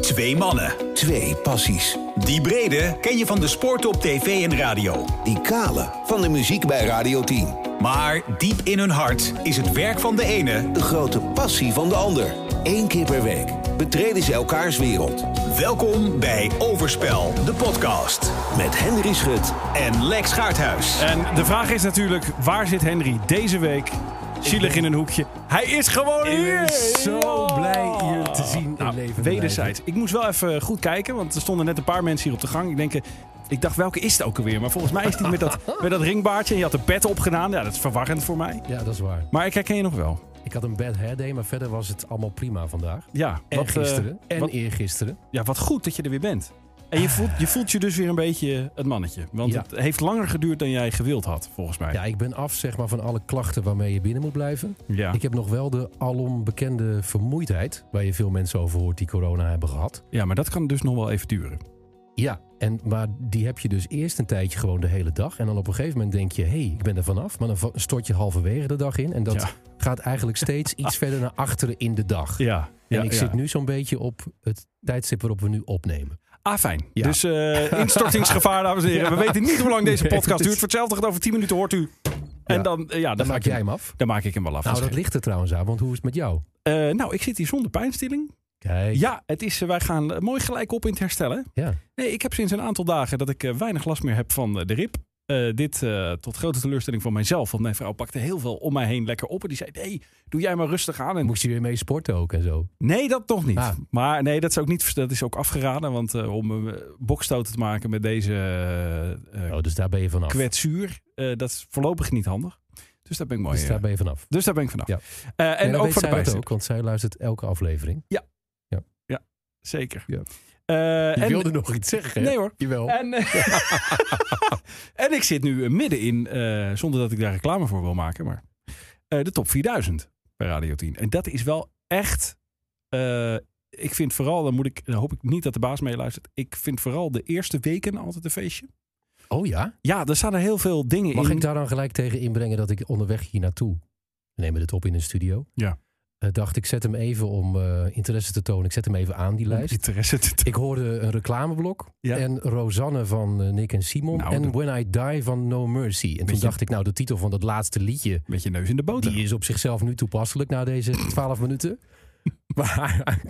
Twee mannen. Twee passies. Die brede ken je van de sport op tv en radio. Die kale van de muziek bij Radio 10. Maar diep in hun hart is het werk van de ene... De grote passie van de ander. Eén keer per week betreden ze elkaars wereld. Welkom bij Overspel, de podcast. Met Henry Schut. En Lex Gaarthuis. En de vraag is natuurlijk, waar zit Henry deze week? Zielig in een hoekje. Hij is gewoon Ik hier! ben zo Ja! blij je te zien in Nou, leven. wederzijds. Ik moest wel even goed kijken, want er stonden net een paar mensen hier op de gang. Ik denk, eh, ik dacht, welke is het ook alweer? Maar volgens mij is die met dat, met dat ringbaardje. En je had een pet opgedaan. Ja, dat is verwarrend voor mij. Ja, dat is waar. Maar ik herken je nog wel. Ik had een bad hair day, maar verder was het allemaal prima vandaag. Ja, En wat, eh, gisteren. en wat- eergisteren. ja, wat goed dat je er weer bent. En je voelt, je voelt je dus weer een beetje het mannetje. Want Ja. het heeft langer geduurd dan jij gewild had, volgens mij. Ja, ik ben af zeg maar, van alle klachten waarmee je binnen moet blijven. ja. Ik heb nog wel de alom bekende vermoeidheid. Waar je veel mensen over hoort die corona hebben gehad. ja maar dat kan dus nog wel even duren. Ja, en, maar die heb je dus eerst een tijdje gewoon de hele dag. En dan op een gegeven moment denk je, hé, hey, ik ben er vanaf. Maar dan va- stort je halverwege de dag in. En dat Ja. gaat eigenlijk steeds iets verder naar achteren in de dag. Ja, en ik zit nu zo'n beetje op het tijdstip waarop we nu opnemen. Ah, fijn. Ja. Dus eh, instortingsgevaar, dames en heren. We weten niet hoe lang deze Nee, podcast het is- duurt. Voor hetzelfde gaat over 10 minuten hoort u. En Ja. dan, eh, ja, dan, Dan ga maak ik jij hem af. Dan maak ik hem wel af. Nou, Dat dat is ligt er trouwens aan, want hoe is het met jou? geen- Eh, nou, ik zit hier zonder pijnstilling. Kijk, Ja, het is, eh, wij gaan eh, mooi gelijk op in het herstellen. ja. Nee, ik heb sinds een aantal dagen dat ik eh, weinig last meer heb van eh, de rib. Eh, dit eh, tot grote teleurstelling van mijzelf. Want mijn vrouw pakte heel veel om mij heen lekker op. En die zei, nee, doe jij maar rustig aan. En Moest je weer mee sporten ook en zo? Nee, dat nog niet. Ah. Maar nee, dat is ook niet. Dat is ook afgeraden. Want eh, om eh, bokstoten te maken met deze eh, eh, Oh, dus daar ben je vanaf. kwetsuur, eh, dat is voorlopig niet handig. Dus daar ben ik mooi. dus eh, daar ben je vanaf. dus daar ben ik vanaf. Ja. Eh, en Nee, dan ook voor de weet zij dat pijnstilling. ook, want zij luistert elke aflevering. Zeker. Ja. Eh, en, nog iets zeggen, Nee hoor. Jawel. En, eh, en ik zit nu eh, midden in, eh, zonder dat ik daar reclame voor wil maken, maar eh, de top 4000 bij Radio 10. En dat is wel echt. eh, ik vind vooral, dan, moet ik, dan hoop ik niet dat de baas meeluistert. Ik vind vooral de eerste weken altijd een feestje. Oh ja? Ja, er staan er heel veel dingen Mag in. ik daar dan gelijk tegen inbrengen dat ik onderweg hier naartoe, we nemen dit op in een studio, Ja. eh, dacht ik zet hem even om eh, interesse te tonen, ik zet hem even aan die om lijst. interesse te- Ik hoorde een reclameblok Ja. en Rosanne van eh, Nick en Simon Nou, en dat- When I Die van No Mercy. En toen Beetje- dacht ik, nou de titel van dat laatste liedje, Met je neus in de boter. Die is op zichzelf nu toepasselijk na deze 12 minuten. Maar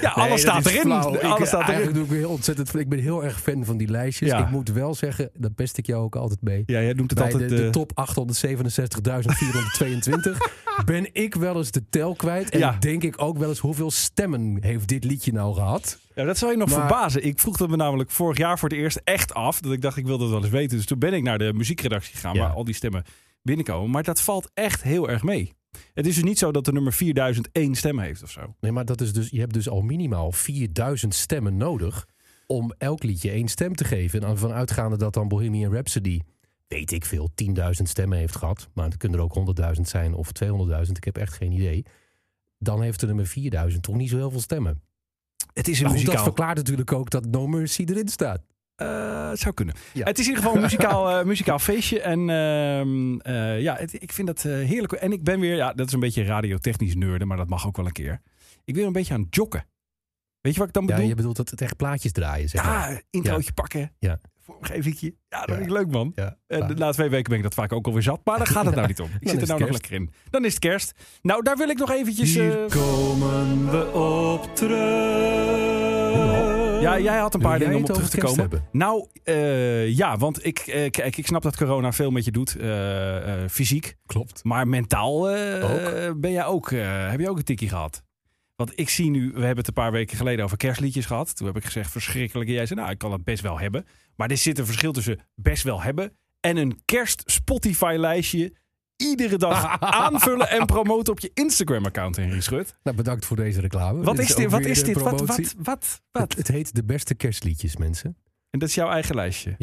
ja, alles Nee, dat staat is erin. flauw. alles ik, staat eigenlijk erin. doe ik weer heel ontzettend. veel- Ik ben heel erg fan van die lijstjes. Ja. Ik moet wel zeggen, dat pest ik jou ook altijd mee. Ja, jij noemt het Bij de, altijd. de eh, top 867.422 ben ik wel eens de tel kwijt. En Ja. denk ik ook wel eens hoeveel stemmen heeft dit liedje nou gehad? Ja, dat zou je nog Maar- verbazen. Ik vroeg dat me namelijk vorig jaar voor het eerst echt af. Dat ik dacht, ik wil dat wel eens weten. Dus toen ben ik naar de muziekredactie gegaan, Ja. waar al die stemmen binnenkomen. Maar dat valt echt heel erg mee. Het is dus niet zo dat de nummer 4001 stem heeft of zo. Nee, maar dat is dus, je hebt dus al minimaal 4000 stemmen nodig om elk liedje één stem te geven. En dan vanuitgaande dat dan Bohemian Rhapsody, weet ik veel, 10.000 stemmen heeft gehad. Maar het kunnen er ook 100.000 zijn of 200.000, ik heb echt geen idee. Dan heeft de nummer 4000 toch niet zo heel veel stemmen. Het is een Maar goed, dat muzikaal... verklaart natuurlijk ook dat No Mercy erin staat. Eh, het zou kunnen. Ja. Het is in ieder geval een muzikaal, eh, muzikaal feestje. En ehm, eh, ja, het- ik vind dat eh, heerlijk. En ik ben weer, ja, dat is een beetje radiotechnisch neurden, maar dat mag ook wel een keer. Ik ben een beetje aan het joggen. Weet je wat ik dan Ja, bedoel? je bedoelt dat het echt plaatjes draaien, zeg maar. Ja, introotje pakken. Ja. Vormgevingje. Ja, dat Ja. vind ik leuk, man. Ja, Eh, waar. de laatste twee weken ben ik dat vaak ook alweer zat. Maar daar gaat het nou niet om. Ik Dan zit er is nou het nog lekker in. Dan is het kerst. Nou, daar wil ik nog eventjes... eh, komen we op terug. ja, jij had een Wil paar jij dingen om op het terug te over kerst komen. hebben? Nou, eh, ja, want ik, eh, kijk, ik snap dat corona veel met je doet. eh, eh, fysiek. Klopt. Maar mentaal eh, Ook. ben jij ook, eh, heb je ook een tikkie gehad? Want ik zie nu, we hebben het een paar weken geleden over kerstliedjes gehad. Toen heb ik gezegd verschrikkelijk. En jij zei, nou, ik kan het best wel hebben. Maar er zit een verschil tussen best wel hebben en een kerst Spotify lijstje iedere dag aanvullen en promoten op je Instagram account, Henry Schut. Dus Nou, bedankt voor deze reclame. Wat Dit is ook dit? Wat weer is de dit? Wat, promotie. wat, wat, wat? Het, het heet de beste kerstliedjes, mensen. En dat is jouw eigen lijstje.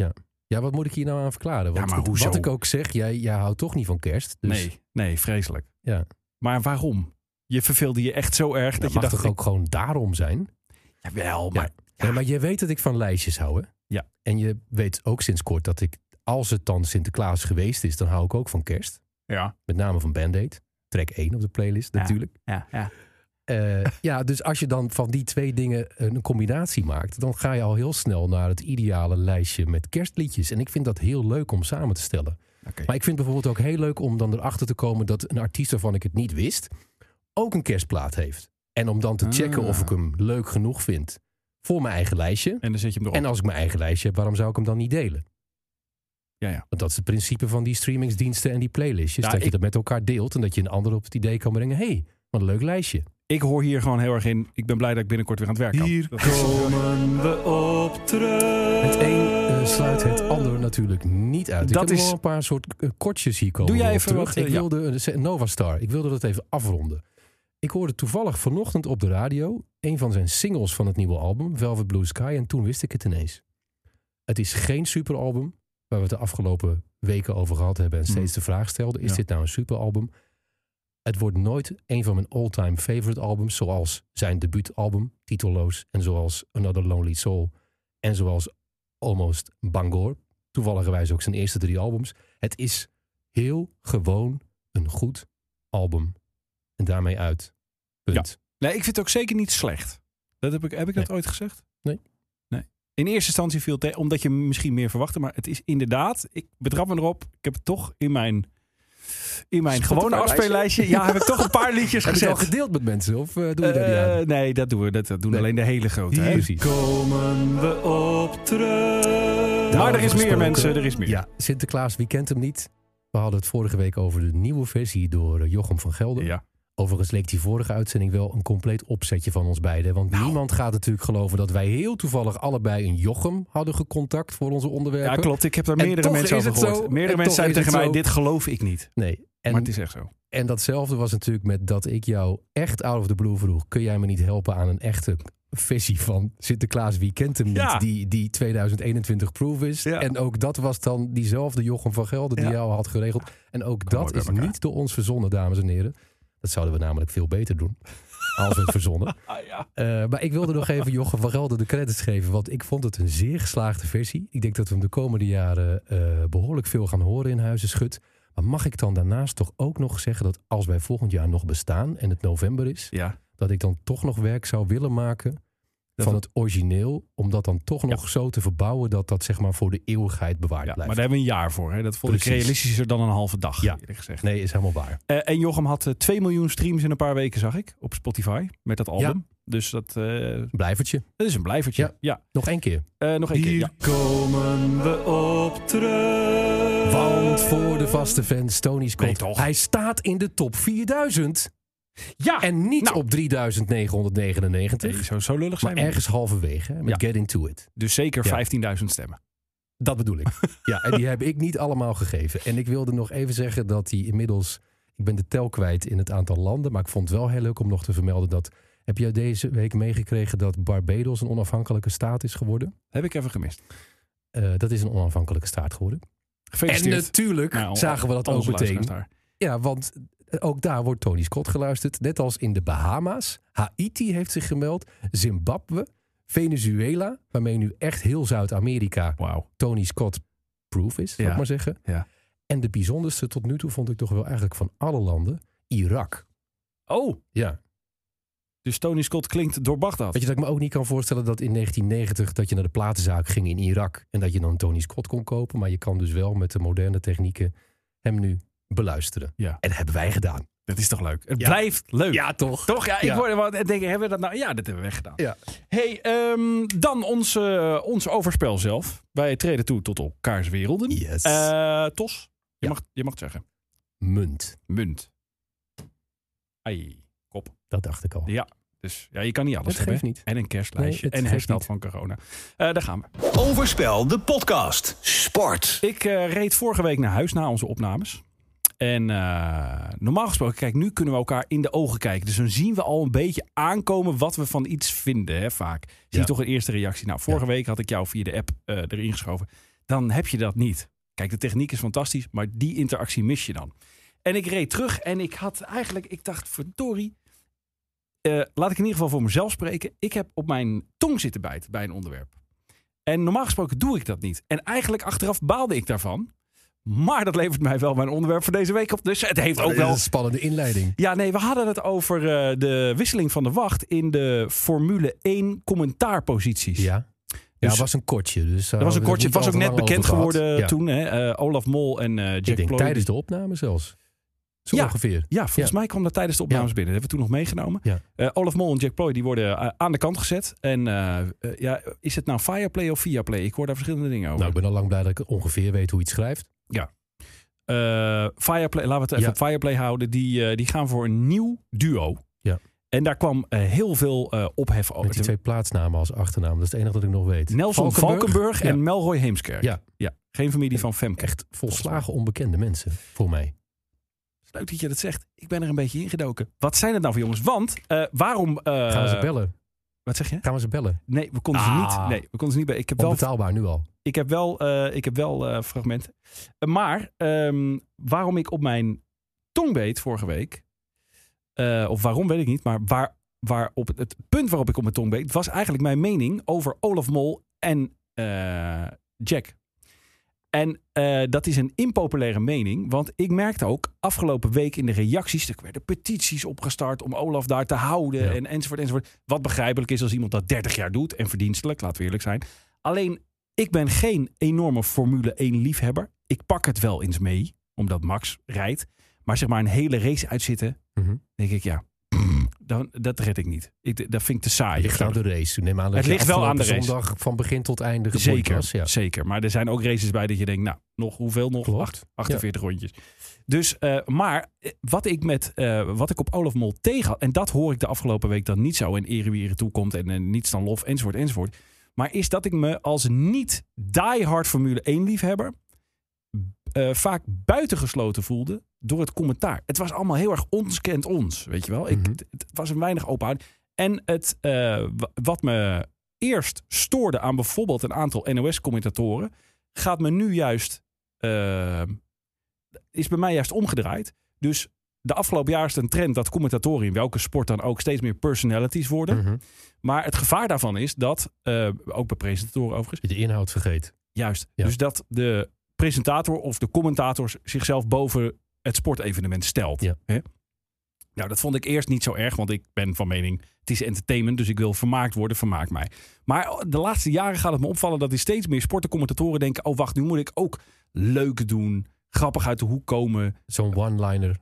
Ja, wat moet ik hier nou aan verklaren? Want Ja, maar hoezo? wat ik ook zeg, jij, jij houdt toch niet van kerst. Dus Nee, nee, vreselijk. Ja. Maar waarom? Je verveelde je echt zo erg dat, dat je mag dacht... toch ook gewoon daarom zijn? Ja, wel, maar... Ja, maar je weet dat ik van lijstjes hou, hè? Ja. En je weet ook sinds kort dat ik, als het dan Sinterklaas geweest is, dan hou ik ook van kerst. Ja, Met name van Band-Aid. Track 1 op de playlist, Ja. natuurlijk. ja, ja. Eh, ja, dus als je dan van die twee dingen een combinatie maakt, dan ga je al heel snel naar het ideale lijstje met kerstliedjes. En ik vind dat heel leuk om samen te stellen. Oké. Maar ik vind bijvoorbeeld ook heel leuk om dan erachter te komen dat een artiest waarvan ik het niet wist, ook een kerstplaat heeft. En om dan te checken of Ah. ik hem leuk genoeg vind voor mijn eigen lijstje. En dan zet je hem erop. En als ik mijn eigen lijstje heb, waarom zou ik hem dan niet delen? Ja, ja. Want dat is het principe van die streamingsdiensten en die playlistjes. Ja, dat je ik- dat met elkaar deelt en dat je een ander op het idee kan brengen. Hé, hey, wat een leuk lijstje. Ik hoor hier gewoon heel erg in. Ik ben blij dat ik binnenkort weer aan het werk kan. Hier komen we op terug. Het een eh, sluit het ander natuurlijk niet uit. Dat ik is- heb nog wel een paar soort eh, kortjes hier komen. Doe jij op even terug. wat, eh, ik ja. wilde een se- Nova Star. Ik wilde dat even afronden. Ik hoorde toevallig vanochtend op de radio een van zijn singles van het nieuwe album, Velvet Blue Sky, en toen wist ik het ineens. Het is geen superalbum, waar we het de afgelopen weken over gehad hebben en steeds de vraag stelden: is Hmm. Ja. dit nou een superalbum? Het wordt nooit een van mijn all-time favorite albums, zoals zijn debuutalbum, titelloos, en zoals Another Lonely Soul, en zoals Almost Bangor. Toevalligerwijs ook zijn eerste drie albums. Het is heel gewoon een goed album. En daarmee uit. Punt. Nee, ik vind het ook zeker niet slecht. Dat heb ik, heb ik dat ooit gezegd? Nee. nee. In eerste instantie viel het tegen, omdat je misschien meer verwachtte. Maar het is inderdaad, ik betrap me erop. Ik heb het toch in mijn, in mijn gewone afspeellijstje. Ja, heb ik toch een paar liedjes Heb je het al gezet. gedeeld met mensen? Of eh, doe je dat Eh, niet aan? nee, dat doen we. Dat, dat doen Nee. alleen de hele grote. hè? Precies. komen we op terug. Maar er Daarover is meer gesproken. mensen, er is meer. Ja, Sinterklaas, wie kent hem niet? We hadden het vorige week over de nieuwe versie door eh, Jochem van Gelder. Ja. Overigens leek die vorige uitzending wel een compleet opzetje van ons beiden. Want Nou. niemand gaat natuurlijk geloven dat wij heel toevallig allebei een Jochem hadden gecontact voor onze onderwerpen. Ja, klopt. Ik heb daar En meerdere toch mensen is over het zo. gehoord. En Meerdere mensen toch zeiden is het tegen mij, zo. dit geloof ik niet. Nee. En, maar het is echt zo. en datzelfde was natuurlijk met dat ik jou echt out of the blue vroeg. Kun jij me niet helpen aan een echte versie van Sinterklaas Wie kent hem niet? Ja. Die, die 2021 proof is. Ja. En ook dat was dan diezelfde Jochem van Gelder die Ja. jou had geregeld. En ook dat bij is elkaar. niet door ons verzonnen, dames en heren. Dat zouden we namelijk veel beter doen. Als we het verzonnen. Ah, ja. Eh, maar ik wilde nog even Jochem van Gelder de credits geven. Want ik vond het een zeer geslaagde versie. Ik denk dat we hem de komende jaren eh, behoorlijk veel gaan horen in Huizen Schut. Maar mag ik dan daarnaast toch ook nog zeggen dat als wij volgend jaar nog bestaan en het november is, ja. dat ik dan toch nog werk zou willen maken van het- het origineel. Om dat dan toch nog zo te verbouwen dat dat zeg maar voor de eeuwigheid Ja, bewaard maar blijft. daar hebben we een jaar voor. Hè? Dat vond ik Precies. realistischer dan een halve dag, Ja. eerlijk gezegd. Nee, is helemaal waar. Eh, en Jochem had eh, 2 miljoen streams in een paar weken, zag ik, op Spotify. Met dat album. Dus dat, eh, Blijvertje. dat is een blijvertje. Ja. Ja. Nog één keer. Eh, nog één keer. Ja. komen we op terug. Want voor de vaste fans, Tony Nee, Scott, toch? hij staat in de top 4000. Ja, En niet nou. op 3999, Nee, zo, zo lullig maar zijn we niet. ergens halverwege hè, met Get Into It. Dus zeker Ja. 15.000 stemmen. Dat bedoel ik. ja, en die heb ik niet allemaal gegeven. En ik wilde nog even zeggen dat hij inmiddels... Ik ben de tel kwijt in het aantal landen, maar ik vond het wel heel leuk om nog te vermelden dat... Heb jij deze week meegekregen dat Barbados een onafhankelijke staat is geworden? Heb ik even gemist. Eh, dat is een onafhankelijke staat geworden. En Gefeliciteerd. natuurlijk Nou, zagen we dat ook onze meteen. luisteraars daar. Ja, want eh, ook daar wordt Tony Scott geluisterd. Net als in de Bahama's. Haiti heeft zich gemeld. Zimbabwe. Venezuela. Waarmee nu echt heel Zuid-Amerika Wauw. Tony Scott proof is, zou Ja. ik maar zeggen. Ja. En de bijzonderste tot nu toe vond ik toch wel eigenlijk van alle landen. Irak. Oh, Ja. dus Tony Scott klinkt door Bagdad. Weet je dat ik me ook niet kan voorstellen dat in 1990 dat je naar de platenzaak ging in Irak. En dat je dan Tony Scott kon kopen. Maar je kan dus wel met de moderne technieken hem nu beluisteren. Ja. En dat hebben wij gedaan. Dat is toch leuk? Het Ja. blijft leuk. toch? Toch? Ja, ik Ja. word wat en denk, hebben we dat nou? Ja, dat hebben we weggedaan. Ja. Hey, ehm, dan ons, eh, ons overspel zelf. Wij treden toe tot elkaars werelden. Yes. Eh, Tos, je, Ja. mag, je mag het zeggen. Munt. Munt. Ai, kop. Dat dacht ik al. Ja, dus ja, je kan niet alles Het hebben. geeft niet. En een kerstlijstje. Nee, het en geeft herstel niet. van corona. Eh, daar gaan we. Overspel, de podcast. Sport. Ik eh, reed vorige week naar huis na onze opnames. En eh, normaal gesproken, kijk, nu kunnen we elkaar in de ogen kijken. Dus dan zien we al een beetje aankomen wat we van iets vinden, hè, vaak. Zie je Ja. toch een eerste reactie. Nou, vorige week had ik jou via de app eh, erin geschoven. Dan heb je dat niet. Kijk, de techniek is fantastisch, maar die interactie mis je dan. En ik reed terug en ik had eigenlijk, ik dacht, verdorie. eh, laat ik in ieder geval voor mezelf spreken. Ik heb op mijn tong zitten bijten bij een onderwerp. En normaal gesproken doe ik dat niet. En eigenlijk achteraf baalde ik daarvan. Maar dat levert mij wel mijn onderwerp voor deze week op. Dus het heeft ook wel een spannende inleiding. ja, nee, we hadden het over eh, de wisseling van de wacht in de Formule 1 commentaarposities. Ja. Ja, Dus- het was een kortje. Dus Dat was een kortje. Het was ook net bekend geworden ja. toen. Hè? Eh, Olaf Mol en eh Jack Ik denk Ploy. tijdens de opname zelfs. Zo Ja. ongeveer. Ja, volgens Ja. mij kwam dat tijdens de opnames binnen. Dat hebben we toen nog meegenomen. Ja. Eh, Olaf Mol en Jack Ploy die worden eh, aan de kant gezet. En eh, eh, ja, is het nou Fireplay of Viaplay? Ik hoor daar verschillende dingen over. Nou, ik ben al lang blij dat ik ongeveer weet hoe iets schrijft. Oh, Eh, Fireplay, laten we het even Ja. op Fireplay houden. Die, eh, die gaan voor een nieuw duo. Ja. En daar kwam eh, heel veel eh, ophef over. Met die twee plaatsnamen als achternaam. Dat is het enige dat ik nog weet. Nelson Valkenburg, en Ja. Melroy Heemskerk. Ja. Geen familie van Femke. Echt volslagen onbekende mensen voor mij. Leuk dat je dat zegt. Ik ben er een beetje ingedoken. Wat zijn het nou voor jongens? Want eh, waarom... eh, Gaan we ze bellen? Wat zeg je? Gaan we ze bellen? Nee, we konden Ah. ze niet. Nee, we konden ze niet bij. Ik heb wel, Onbetaalbaar nu al. ik heb wel, eh, ik heb wel eh, fragmenten. Eh, maar ehm, waarom ik op mijn tong beet vorige week... eh, of waarom weet ik niet, maar waar, waar op het, het punt waarop ik op mijn tong beet... was eigenlijk mijn mening over Olaf Mol en eh, Jack. En eh, dat is een impopulaire mening, want ik merkte ook afgelopen week in de reacties, er werden petities opgestart om Olaf daar te houden Ja. en enzovoort enzovoort. Wat begrijpelijk is als iemand dat 30 jaar doet en verdienstelijk, laten we eerlijk zijn. Alleen, ik ben geen enorme Formule 1 liefhebber. Ik pak het wel eens mee, omdat Max rijdt. Maar zeg maar een hele race uitzitten, Mhm. denk ik ja, dan, dat red ik niet. Ik, dat vind ik te saai. Het ligt aan de race. Neem aan dat Het je ligt wel afgelopen aan de race. zondag van begin tot einde geboeid Zeker, was. Ja. zeker. Maar er zijn ook races bij dat je denkt, nou, nog hoeveel nog? Klopt. Acht- 48 rondjes. Dus, eh, maar eh, wat ik, met, eh, wat ik op Olaf Mol tegen had, en dat hoor ik de afgelopen week dan niet zo, en ere wie ere toekomt, en, en niets dan lof, enzovoort, enzovoort. Maar is dat ik me als niet diehard Formule 1 liefhebber eh, vaak buitengesloten voelde door het commentaar. Het was allemaal heel erg ons kent ons, weet je wel. Ik, Mhm. het- Het was een weinig openhouding. En het, eh, wa- wat me eerst stoorde aan bijvoorbeeld een aantal NOS-commentatoren, gaat me nu juist, eh, is bij mij juist omgedraaid. Dus de afgelopen jaar is het een trend dat commentatoren in welke sport dan ook steeds meer personalities worden. Mhm. Maar het gevaar daarvan is dat, eh, ook bij presentatoren overigens, De inhoud vergeet. Juist. Ja. Dus dat de presentator of de commentator zichzelf boven het sportevenement stelt. Ja. Hè? Nou, dat vond ik eerst niet zo erg, want ik ben van mening, het is entertainment, dus ik wil vermaakt worden, vermaak mij. Maar oh, de laatste jaren gaat het me opvallen dat er steeds meer sportencommentatoren denken, oh wacht, nu moet ik ook leuk doen, grappig uit de hoek komen, Zo'n one-liner.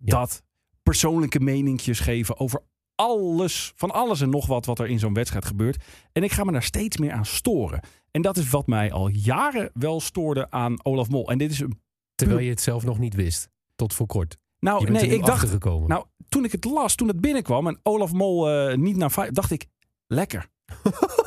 Ja. dat persoonlijke meninkjes geven over alles, van alles en nog wat wat er in zo'n wedstrijd gebeurt. En ik ga me daar steeds meer aan storen. En dat is wat mij al jaren wel stoorde aan Olaf Mol. En dit is een. Terwijl je het zelf nog niet wist. Tot voor kort. Nou, je bent nee, er nu ik dacht. achtergekomen. Nou, toen ik het las, toen het binnenkwam en Olaf Mol eh, niet naar vijf, dacht ik, lekker.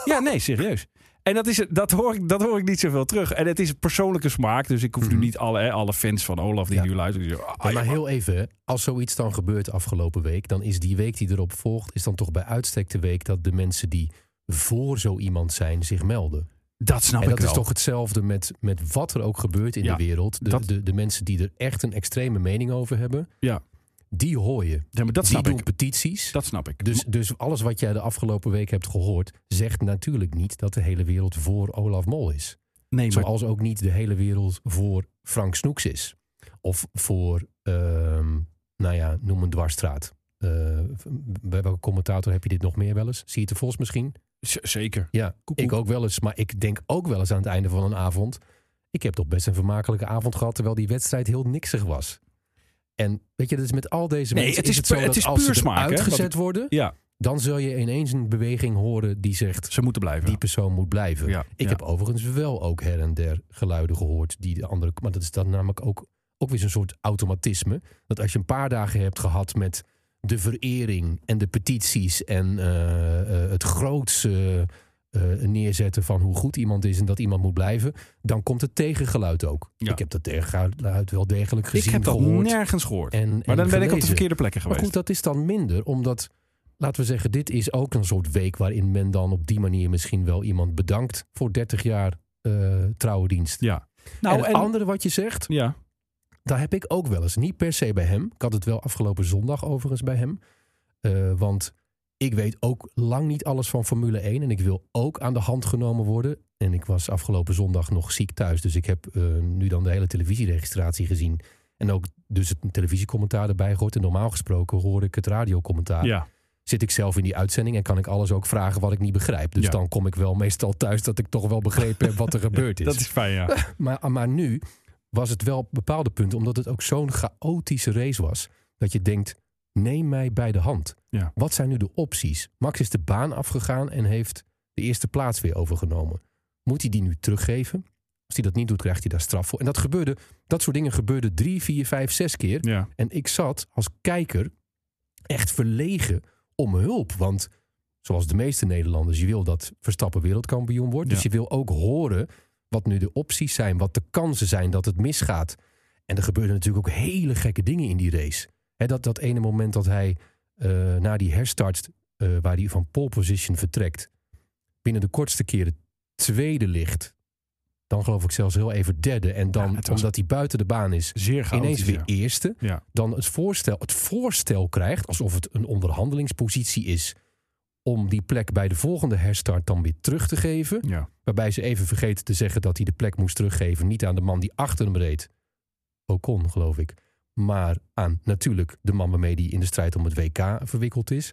ja, nee, serieus. En dat, is, dat, hoor ik, dat hoor ik niet zoveel terug. En het is een persoonlijke smaak, dus ik hoef nu niet alle, hè, alle fans van Olaf die Mhm. Ja. nu luisteren. die zeggen, ah, Nee, ja, maar heel even, hè. als zoiets dan gebeurt afgelopen week, dan is die week die erop volgt, is dan toch bij uitstek de week dat de mensen die voor zo iemand zijn zich melden. dat snap en Nou, ik dat is wel. toch hetzelfde met, met wat er ook gebeurt in Ja, de wereld. De, dat- de, de mensen die er echt een extreme mening over hebben, Ja. die hoor je. Ja, maar dat die snap doen ik. petities. Dat snap ik. Dus, dus alles wat jij de afgelopen week hebt gehoord, zegt natuurlijk niet dat de hele wereld voor Olaf Mol is. nee, maar Zoals ook niet de hele wereld voor Frank Snoeks is. Of voor, ehm, nou ja, noem een dwarsstraat. Eh, bij welke commentator heb je dit nog meer wel eens? Zie je het Vos misschien? Z- zeker. Ja, ik ook wel eens. Maar ik denk ook wel eens aan het einde van een avond. Ik heb toch best een vermakelijke avond gehad, terwijl die wedstrijd heel niksig was. En weet je, dat is met al deze Nee, mensen het is zo pu- dat het is als puur ze smaak, hè? uitgezet worden, Ja, dan zul je ineens een beweging horen die zegt... ze moeten blijven. die persoon moet blijven. Ja, ik ja. heb overigens wel ook her en der geluiden gehoord die de andere. Maar dat is dan namelijk ook, ook weer zo'n soort automatisme. Dat als je een paar dagen hebt gehad met de verering en de petities en eh, eh, het grootste eh, neerzetten van hoe goed iemand is en dat iemand moet blijven, dan komt het tegengeluid ook. Ja. Ik heb dat tegengeluid wel degelijk gezien, ik heb dat gehoord. nergens gehoord. en, maar dan ben ik op de verkeerde. verkeerde plekken Maar geweest. goed, dat is dan minder, omdat, laten we zeggen, dit is ook een soort week waarin men dan op die manier misschien wel iemand bedankt voor 30 jaar eh trouwe dienst. ja. Nou, Nou, en het en, andere wat je zegt, ja. daar heb ik ook wel eens. Niet per se bij hem. Ik had het wel afgelopen zondag overigens bij hem. Eh, want ik weet ook lang niet alles van Formule 1 en ik wil ook aan de hand genomen worden. En ik was afgelopen zondag nog ziek thuis, dus ik heb eh, nu dan de hele televisieregistratie gezien. En ook dus het televisiecommentaar erbij gehoord. En normaal gesproken hoor ik het radiocommentaar. Ja. Zit ik zelf in die uitzending en kan ik alles ook vragen wat ik niet begrijp. Dus Ja. dan kom ik wel meestal thuis dat ik toch wel begrepen heb wat er gebeurd is. Dat is fijn, ja. Maar, maar nu was het wel op bepaalde punten, omdat het ook zo'n chaotische race was, dat je denkt: neem mij bij de hand. Ja. Wat zijn nu de opties? Max is de baan afgegaan en heeft de eerste plaats weer overgenomen. Moet hij die nu teruggeven? Als hij dat niet doet, krijgt hij daar straf voor. En dat gebeurde, dat soort dingen gebeurde drie, vier, vijf, zes keer. ja. En ik zat als kijker echt verlegen om hulp. Want zoals de meeste Nederlanders, je wil dat Verstappen wereldkampioen wordt. Dus Ja. je wil ook horen wat nu de opties zijn, wat de kansen zijn dat het misgaat. En er gebeurden natuurlijk ook hele gekke dingen in die race. Hè, dat, dat ene moment dat hij eh, na die herstart, eh, waar hij van pole position vertrekt, binnen de kortste keren tweede ligt. Dan geloof ik zelfs heel even derde. En dan, Ja, het was- omdat hij buiten de baan is, Zeer chaotisch. ineens weer ja. eerste. Ja. Dan het voorstel, het voorstel krijgt, alsof het een onderhandelingspositie is, om die plek bij de volgende herstart dan weer terug te geven. Ja. Waarbij ze even vergeten te zeggen dat hij de plek moest teruggeven. Niet aan de man die achter hem reed, Ocon geloof ik. Maar aan natuurlijk de man waarmee hij in de strijd om het WK verwikkeld is.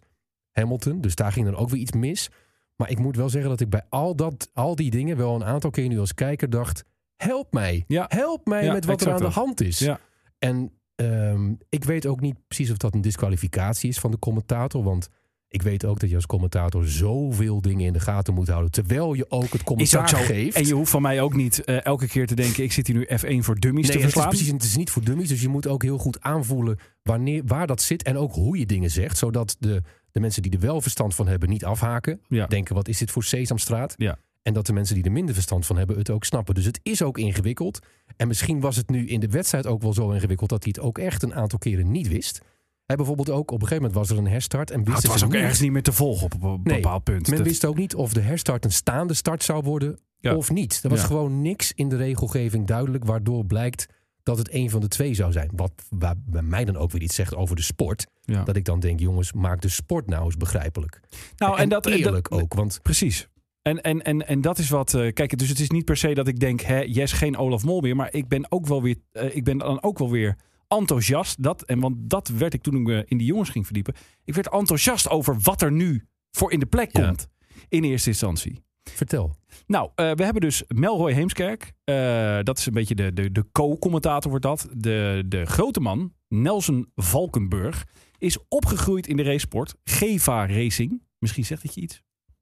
Hamilton, dus daar ging dan ook weer iets mis. Maar ik moet wel zeggen dat ik bij al, dat, al die dingen wel een aantal keer nu als kijker dacht... help mij, Ja. help mij Ja, met wat er exact aan dat. de hand is. Ja. En ehm, ik weet ook niet precies of dat een disqualificatie is van de commentator. Want ik weet ook dat je als commentator zoveel dingen in de gaten moet houden. Terwijl je ook het Is commentaar ook zo. geeft. En je hoeft van mij ook niet eh, elke keer te denken... ik zit hier nu F1 voor dummies te Nee, het is, verslaan. precies, het is niet voor dummies. Dus je moet ook heel goed aanvoelen wanneer, waar dat zit. En ook hoe je dingen zegt. Zodat de, de mensen die er wel verstand van hebben niet afhaken. Ja. Denken, wat is dit voor Sesamstraat? Ja. En dat de mensen die er minder verstand van hebben het ook snappen. Dus het is ook ingewikkeld. En misschien was het nu in de wedstrijd ook wel zo ingewikkeld... dat hij het ook echt een aantal keren niet wist. Hij bijvoorbeeld ook, op een gegeven moment was er een herstart. En wist Nou, het was ook niet, ergens niet meer te volgen op een Nee, bepaald punt. Men Dat- wist ook niet of de herstart een staande start zou worden Ja. of niet. Er was Ja. gewoon niks in de regelgeving duidelijk waardoor blijkt dat het een van de twee zou zijn. Wat waar, bij mij dan ook weer iets zegt over de sport. Ja. Dat ik dan denk, jongens, maak de sport nou eens begrijpelijk. nou, en, dat, en dat- eerlijk ook, want Precies. En, en, en, en dat is wat. eh, kijk, dus het is niet per se dat ik denk, hè, yes, geen Olaf Mol meer. Maar ik ben ook wel weer. eh, ik ben dan ook wel weer enthousiast. Dat, en want dat werd ik toen ik me in die jongens ging verdiepen. Ik werd enthousiast over wat er nu voor in de plek Ja. komt. In eerste instantie. vertel. Nou, eh, we hebben dus Melroy Heemskerk. Eh, dat is een beetje de, de, de co-commentator wordt dat. De, de grote man, Nelson Valkenburg, is opgegroeid in de racesport. Geva Racing. Misschien zegt het je iets.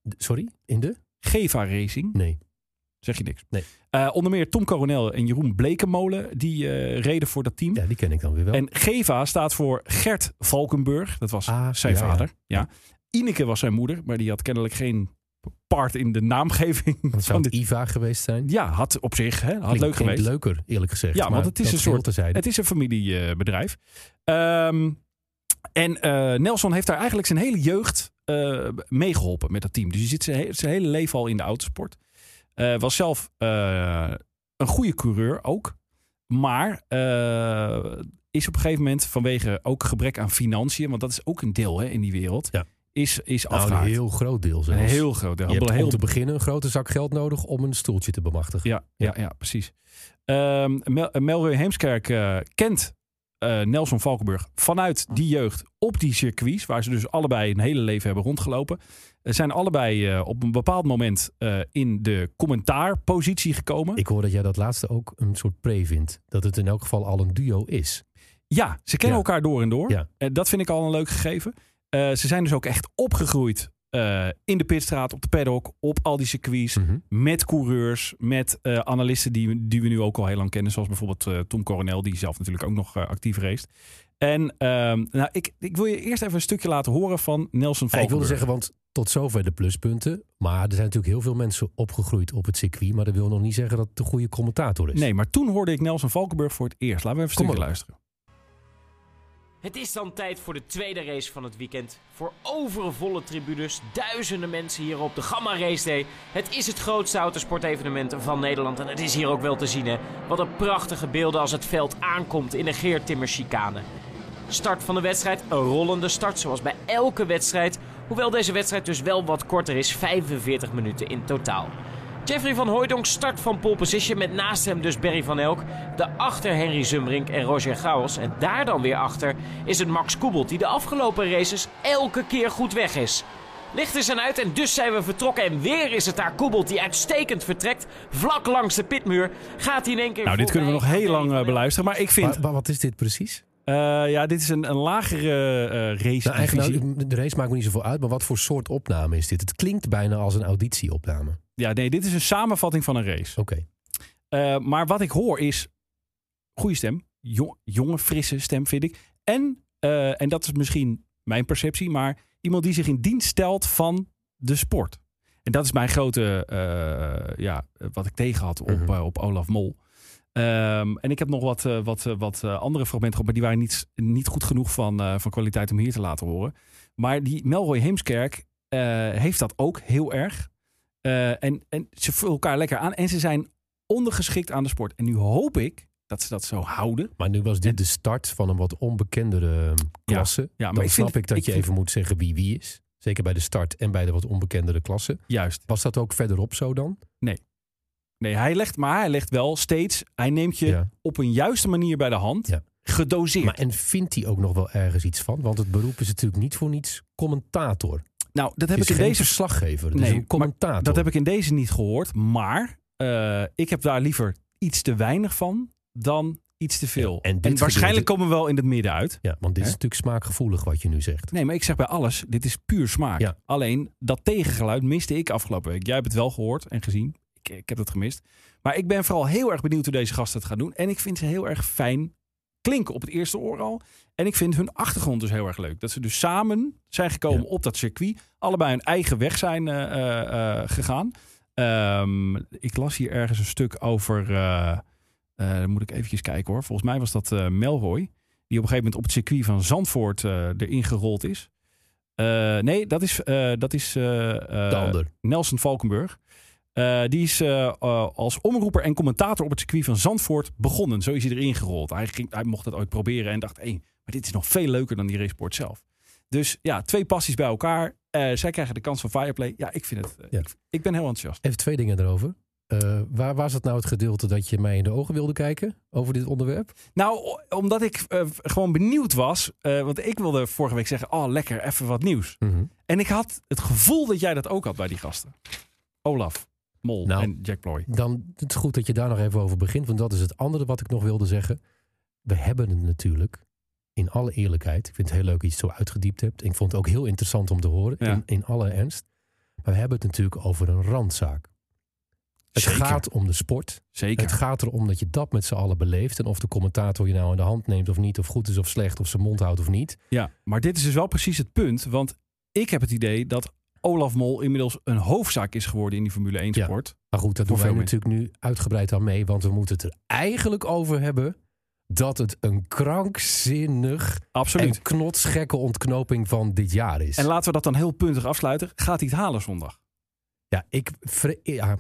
D- Sorry, in de? Geva Racing. Nee. Zeg je niks. Nee. Eh, onder meer Tom Coronel en Jeroen Blekenmolen, die eh, reden voor dat team. Ja, die ken ik dan weer wel. En Geva staat voor Gert Valkenburg, dat was Ah, zijn ja, ja. vader. Ja. Ineke was zijn moeder, maar die had kennelijk geen part in de naamgeving. dat zou van het dit. Iva geweest zijn. Ja, had op zich, hè, had Klinkt- leuk klinkt geweest. leuker, eerlijk gezegd. Ja, want maar het is dat een soort- geheel terzijde. Het is een familiebedrijf. Ehm, en eh, Nelson heeft daar eigenlijk zijn hele jeugd eh meegeholpen met dat team. Dus hij zit zijn, he- zijn hele leven al in de autosport. Eh, was zelf eh, een goede coureur ook. Maar eh, is op een gegeven moment vanwege ook gebrek aan financiën... want dat is ook een deel hè, in die wereld, Ja. is, is Nou, afgehaakt. een heel groot deel een zelfs. heel groot deel. je hebt Heel- om te beginnen een grote zak geld nodig om een stoeltje te bemachtigen. ja, ja, ja, precies. Ehm Mel Melroy Heemskerk eh, kent eh, Nelson Valkenburg vanuit die jeugd op die circuits, waar ze dus allebei een hele leven hebben rondgelopen. Ze zijn allebei eh, op een bepaald moment eh, in de commentaarpositie gekomen. Ik hoor dat jij dat laatste ook een soort pre vindt. Dat het in elk geval al een duo is. Ja, ze kennen Ja. elkaar door en door. Ja. En dat vind ik al een leuk gegeven. Eh, ze zijn dus ook echt opgegroeid eh, in de pitstraat, op de paddock, op al die circuits. Mhm. Met coureurs, met eh, analisten die, die we nu ook al heel lang kennen. Zoals bijvoorbeeld eh, Tom Coronel, die zelf natuurlijk ook nog eh, actief race. En ehm, nou, ik, ik wil je eerst even een stukje laten horen van Nelson Ja, ik Valkenburg. wilde zeggen, want tot zover de pluspunten. Maar er zijn natuurlijk heel veel mensen opgegroeid op het circuit. Maar dat wil nog niet zeggen dat het de goede commentator is. Nee, maar toen hoorde ik Nelson Valkenburg voor het eerst. Laten we even een Kom stukje maar op. luisteren. Het is dan tijd voor de tweede race van het weekend. Voor overvolle tribunes, duizenden mensen hier op de Gamma Race Day. Het is het grootste autosportevenement van Nederland en het is hier ook wel te zien. Hè? Wat een prachtige beelden als het veld aankomt in de Geertimmer chicane. Start van de wedstrijd, een rollende start zoals bij elke wedstrijd. Hoewel deze wedstrijd dus wel wat korter is, 45 minuten in totaal. Jeffrey van Hooijdonk start van pole position met naast hem dus Berry van Elk. Daarachter Henry Zumbrink en Roger Gauwels. En daar dan weer achter is het Max Koebelt die de afgelopen races elke keer goed weg is. Lichten zijn uit en dus zijn we vertrokken. En weer is het daar Koebelt die uitstekend vertrekt. Vlak langs de pitmuur gaat hij in één keer Nou, dit kunnen we nog voorbij aan heel lang Berry eh, van Elk. beluisteren. Maar ik vind, Maar, maar wat is dit precies? eh, ja, dit is een, een lagere eh race. Nou, eigenlijk, nou, de race maakt me niet zoveel uit, maar wat voor soort opname is dit? Het klinkt bijna als een auditieopname. Oké. Ja, nee, dit is een samenvatting van een race. Eh, maar wat ik hoor is. Goede stem. Jo- jonge, frisse stem, vind ik. En, eh, en dat is misschien mijn perceptie, maar iemand die zich in dienst stelt van de sport. En dat is mijn grote. eh, ja, wat ik tegen had op, Mhm. eh, op Olaf Mol. Ehm, en ik heb nog wat, eh, wat, eh, wat eh, andere fragmenten gehad, maar die waren niet, niet goed genoeg van, eh, van kwaliteit om hier te laten horen. Maar die Melroy Heemskerk eh, heeft dat ook heel erg. Eh, en, en ze vullen elkaar lekker aan en ze zijn ondergeschikt aan de sport. En nu hoop ik dat ze dat zo houden. Maar nu was dit de start van een wat onbekendere eh, klasse. maar Dan ik snap vind- ik dat ik je vind- even moet zeggen wie wie is. Zeker bij de start en bij de wat onbekendere klasse. Juist. Was dat ook verderop zo dan? Nee, hij legt, maar hij legt wel steeds, hij neemt je Ja. op een juiste manier bij de hand. Ja. Gedoseerd. Maar en vindt hij ook nog wel ergens iets van? Want het beroep is natuurlijk niet voor niets commentator. nou, dat heb Het ik is in geen deze verslaggever, het Nee, is maar een commentator. Dat heb ik in deze niet gehoord. Maar eh, ik heb daar liever iets te weinig van dan iets te veel. Ja, en en dit gedeelte- waarschijnlijk komen we wel in het midden uit. Ja, want dit Hè? is natuurlijk smaakgevoelig wat je nu zegt. Nee, maar ik zeg bij alles, dit is puur smaak. Ja. Alleen dat tegengeluid miste ik afgelopen week. Jij hebt het wel gehoord en gezien. Ik, ik heb dat gemist. Maar ik ben vooral heel erg benieuwd hoe deze gasten het gaan doen. En ik vind ze heel erg fijn klinken op het eerste oor al. En ik vind hun achtergrond dus heel erg leuk. Dat ze dus samen zijn gekomen Ja. op dat circuit. Allebei hun eigen weg zijn eh, eh, eh, gegaan. Ehm, ik las hier ergens een stuk over... eh, eh, dan moet ik eventjes kijken hoor. Volgens mij was dat eh, Melroy. Die op een gegeven moment op het circuit van Zandvoort eh, erin gerold is. Eh, nee, dat is, eh, dat is eh, eh, De ander. Nelson Valkenburg. Eh, die is eh, eh, als omroeper en commentator op het circuit van Zandvoort begonnen. Zo is hij erin gerold. Hij, ging, hij mocht dat ooit proberen en dacht... Hé, maar dit is nog veel leuker dan die racesport zelf. Dus ja, twee passies bij elkaar. Eh, zij krijgen de kans van Fireplay. Ja, ik vind het... eh, Ja. ik, ik ben heel enthousiast. Even twee dingen erover. Eh, waar was dat nou het gedeelte dat je mij in de ogen wilde kijken over dit onderwerp? Nou, o- omdat ik eh, gewoon benieuwd was. eh, want ik wilde vorige week zeggen: oh, lekker, even wat nieuws. En ik had het gevoel dat jij dat ook had bij die gasten. Olaf, Mol Nou. en Jack Ploy. Dan het is goed dat je daar nog even over begint, want dat is het andere wat ik nog wilde zeggen. We hebben het natuurlijk, in alle eerlijkheid, ik vind het heel leuk dat je het zo uitgediept hebt. Ik vond het ook heel interessant om te horen, Ja. in, in alle ernst. Maar we hebben het natuurlijk over een randzaak. Het Zeker. gaat om de sport. Zeker. Het gaat erom dat je dat met z'n allen beleeft. En of de commentator je nou in de hand neemt of niet, of goed is of slecht, of zijn mond houdt of niet. Ja, maar dit is dus wel precies het punt. Want ik heb het idee dat Olaf Mol inmiddels een hoofdzaak is geworden in die Formule 1 Ja. sport. Maar goed, daar Voor doen wij veel natuurlijk nu uitgebreid aan mee. Want we moeten het er eigenlijk over hebben dat het een krankzinnig Absoluut. en knotsgekke ontknoping van dit jaar is. En laten we dat dan heel puntig afsluiten. Gaat hij het halen zondag? ja, ik vre- ja,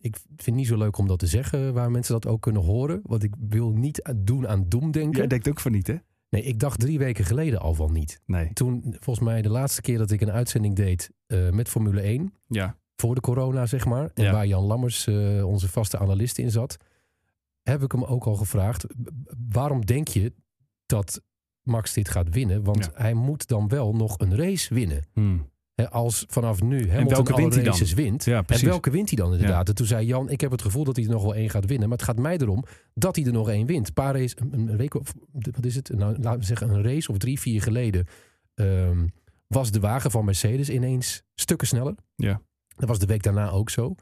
ik vind het niet zo leuk om dat te zeggen waar mensen dat ook kunnen horen. Want ik wil niet aan- doen aan doemdenken. denkt ook van niet, hè? Nee, ik dacht drie weken geleden al van niet. Nee. Toen, volgens mij de laatste keer dat ik een uitzending deed eh, met Formule 1... Ja. voor de corona, zeg maar. En Ja. waar Jan Lammers, eh, onze vaste analist, in zat. Heb ik hem ook al gevraagd. b- b- Waarom denk je dat Max dit gaat winnen? Want Ja. hij moet dan wel nog een race winnen. Hmm. Hè, als vanaf nu Hamilton welke alle wint hij dan? races wint. Ja, precies. En welke wint hij dan inderdaad? En toen zei Jan, ik heb het gevoel dat hij er nog wel één gaat winnen. Maar het gaat mij erom dat hij er nog één wint. Een Paar race, een, een week of- wat is het? Nou, laten we zeggen een race of drie, vier geleden... ehm, was de wagen van Mercedes ineens stukken sneller. Ja. Dat was de week daarna ook zo.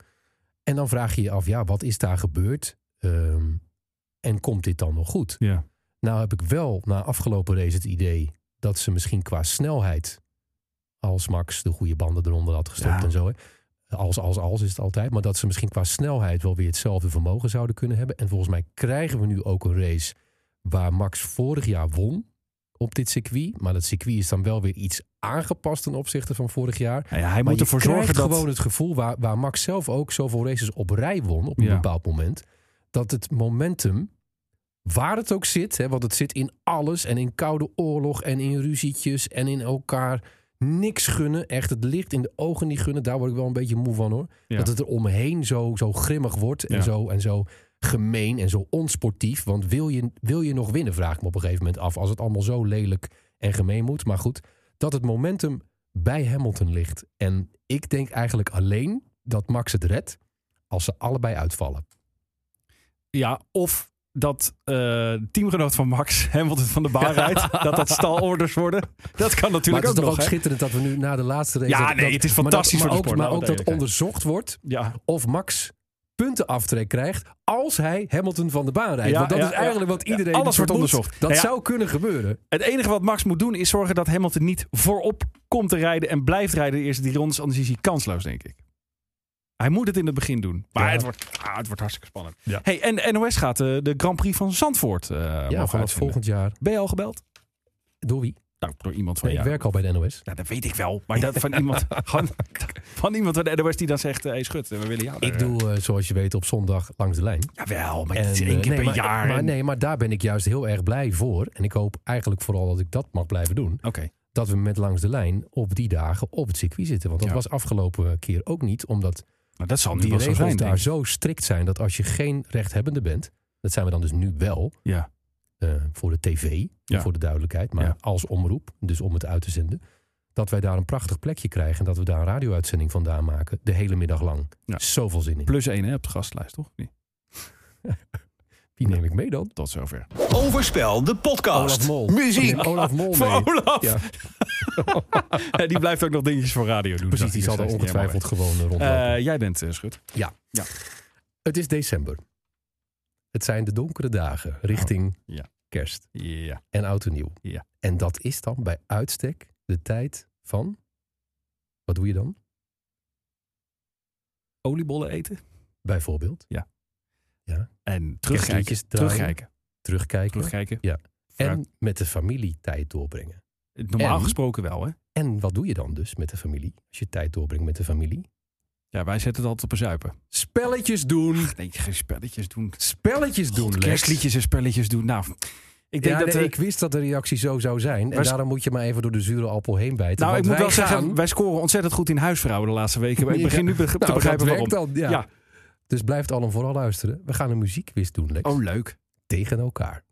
En dan vraag je je af, ja, wat is daar gebeurd? Ehm, en komt dit dan nog goed? Ja. Nou heb ik wel na afgelopen race het idee dat ze misschien qua snelheid, als Max de goede banden eronder had gestopt Ja. en zo, hè, als, als, als is het altijd, maar dat ze misschien qua snelheid wel weer hetzelfde vermogen zouden kunnen hebben. En volgens mij krijgen we nu ook een race waar Max vorig jaar won op dit circuit. Maar dat circuit is dan wel weer iets aangepast ten opzichte van vorig jaar. Nou ja, hij Maar moet je ervoor krijgt zorgen dat... gewoon het gevoel waar, waar Max zelf ook zoveel races op rij won op een Ja. bepaald moment. Dat het momentum, waar het ook zit, hè, want het zit in alles en in koude oorlog en in ruzietjes en in elkaar niks gunnen. Echt het licht in de ogen niet gunnen. Daar word ik wel een beetje moe van hoor. Ja. Dat het er omheen zo, zo grimmig wordt en, Ja. zo, en zo gemeen en zo onsportief. Want wil je, wil je nog winnen, vraag ik me op een gegeven moment af. Als het allemaal zo lelijk en gemeen moet. Maar goed, dat het momentum bij Hamilton ligt. En ik denk eigenlijk alleen dat Max het redt als ze allebei uitvallen. Ja, of dat eh, teamgenoot van Max, Hamilton van de baan rijdt, dat dat stalorders worden. Dat kan Maar natuurlijk het is ook toch nog. ook hè? schitterend dat we nu na de laatste race... Ja, nee, dat- dat- het is maar dat- fantastisch maar voor de ook- sport, Maar laten ook we dat eerlijk onderzocht wordt ja, of Max puntenaftrek krijgt als hij Hamilton van de baan rijdt. Ja, Want dat ja, is eigenlijk ja. wat iedereen Ja, alles wordt vermoedt. onderzocht. Dat Nou ja. zou kunnen gebeuren. Het enige wat Max moet doen is zorgen dat Hamilton niet voorop komt te rijden en blijft rijden de eerste die rondes, anders is hij kansloos, denk ik. Hij moet het in het begin doen. Maar Ja. het, wordt, ah, het wordt hartstikke spannend. Ja. Hey, en de NOS gaat eh, de Grand Prix van Zandvoort. eh ja, mogen vanaf uitzenden. volgend jaar. Ben je al gebeld? Door wie? Nou, door iemand van Nee, ik jou. werk al bij de NOS. Nou, dat weet ik wel. Maar dat van iemand, van, van iemand van de NOS die dan zegt, eh hey, Schut, we willen jou. Ik doe, eh, zoals je weet, op zondag langs de lijn. Jawel, maar En, het is eh, één keer nee, per maar, jaar. Maar en- nee, maar daar ben ik juist heel erg blij voor. En ik hoop eigenlijk vooral dat ik dat mag blijven doen. Oké. Dat we met langs de lijn op die dagen op het circuit zitten. Want dat Ja. was afgelopen keer ook niet. Omdat Nou, dat zal nu die wel zo regels zijn, denk daar ik. zo strikt zijn dat als je geen rechthebbende bent. Dat zijn we dan dus nu wel. Ja. eh, voor de tv, Ja. voor de duidelijkheid, maar Ja. als omroep, dus om het uit te zenden. Dat wij daar een prachtig plekje krijgen en dat we daar een radio-uitzending vandaan maken, de hele middag lang. Ja. Zoveel zin in. Plus één hè, op de gastlijst, toch? Nee, Die neem ik mee dan. Tot zover. Overspel, de podcast. Oh, Olaf Mol. Muziek. Neem Olaf Mol mee. Voor Olaf! Ja, Ja, die blijft ook nog dingetjes voor radio doen. precies, zag die ik zal er steeds. ongetwijfeld gewoon eh, Ja, maar rondlopen. weg. Eh, jij bent eh, Schut. het is december. Het zijn de donkere dagen richting Oh, ja. kerst Ja. en oud en nieuw. Ja. En dat is dan bij uitstek de tijd van... Wat doe je dan? Oliebollen eten. Bijvoorbeeld En terugkijken. Kerstliedjes draaien. Terugkijken. terugkijken. Terugkijken. Ja. En, En met de familie tijd doorbrengen. Normaal en- gesproken wel, hè? En wat doe je dan dus met de familie? Als je tijd doorbrengt met de familie. Ja, wij zetten het altijd op een zuipen. Spelletjes doen. Nee, geen spelletjes doen. Spelletjes doen. God, Lex. kerstliedjes en spelletjes doen. Nou, ik denk ja, dat... nee, eh, ik wist dat de reactie zo zou zijn. En Wij- daarom moet je maar even door de zure appel heen bijten. nou, ik want moet wij wel zeggen, gaan- wij scoren ontzettend goed in huisvrouwen de laatste weken. Maar ik Ja. begin nu be- te Nou, begrijpen dat waarom. werkt al, ja. Ja. Dus blijft allen vooral luisteren. We gaan een muziekquiz doen, Lex. Oh, leuk. Tegen elkaar.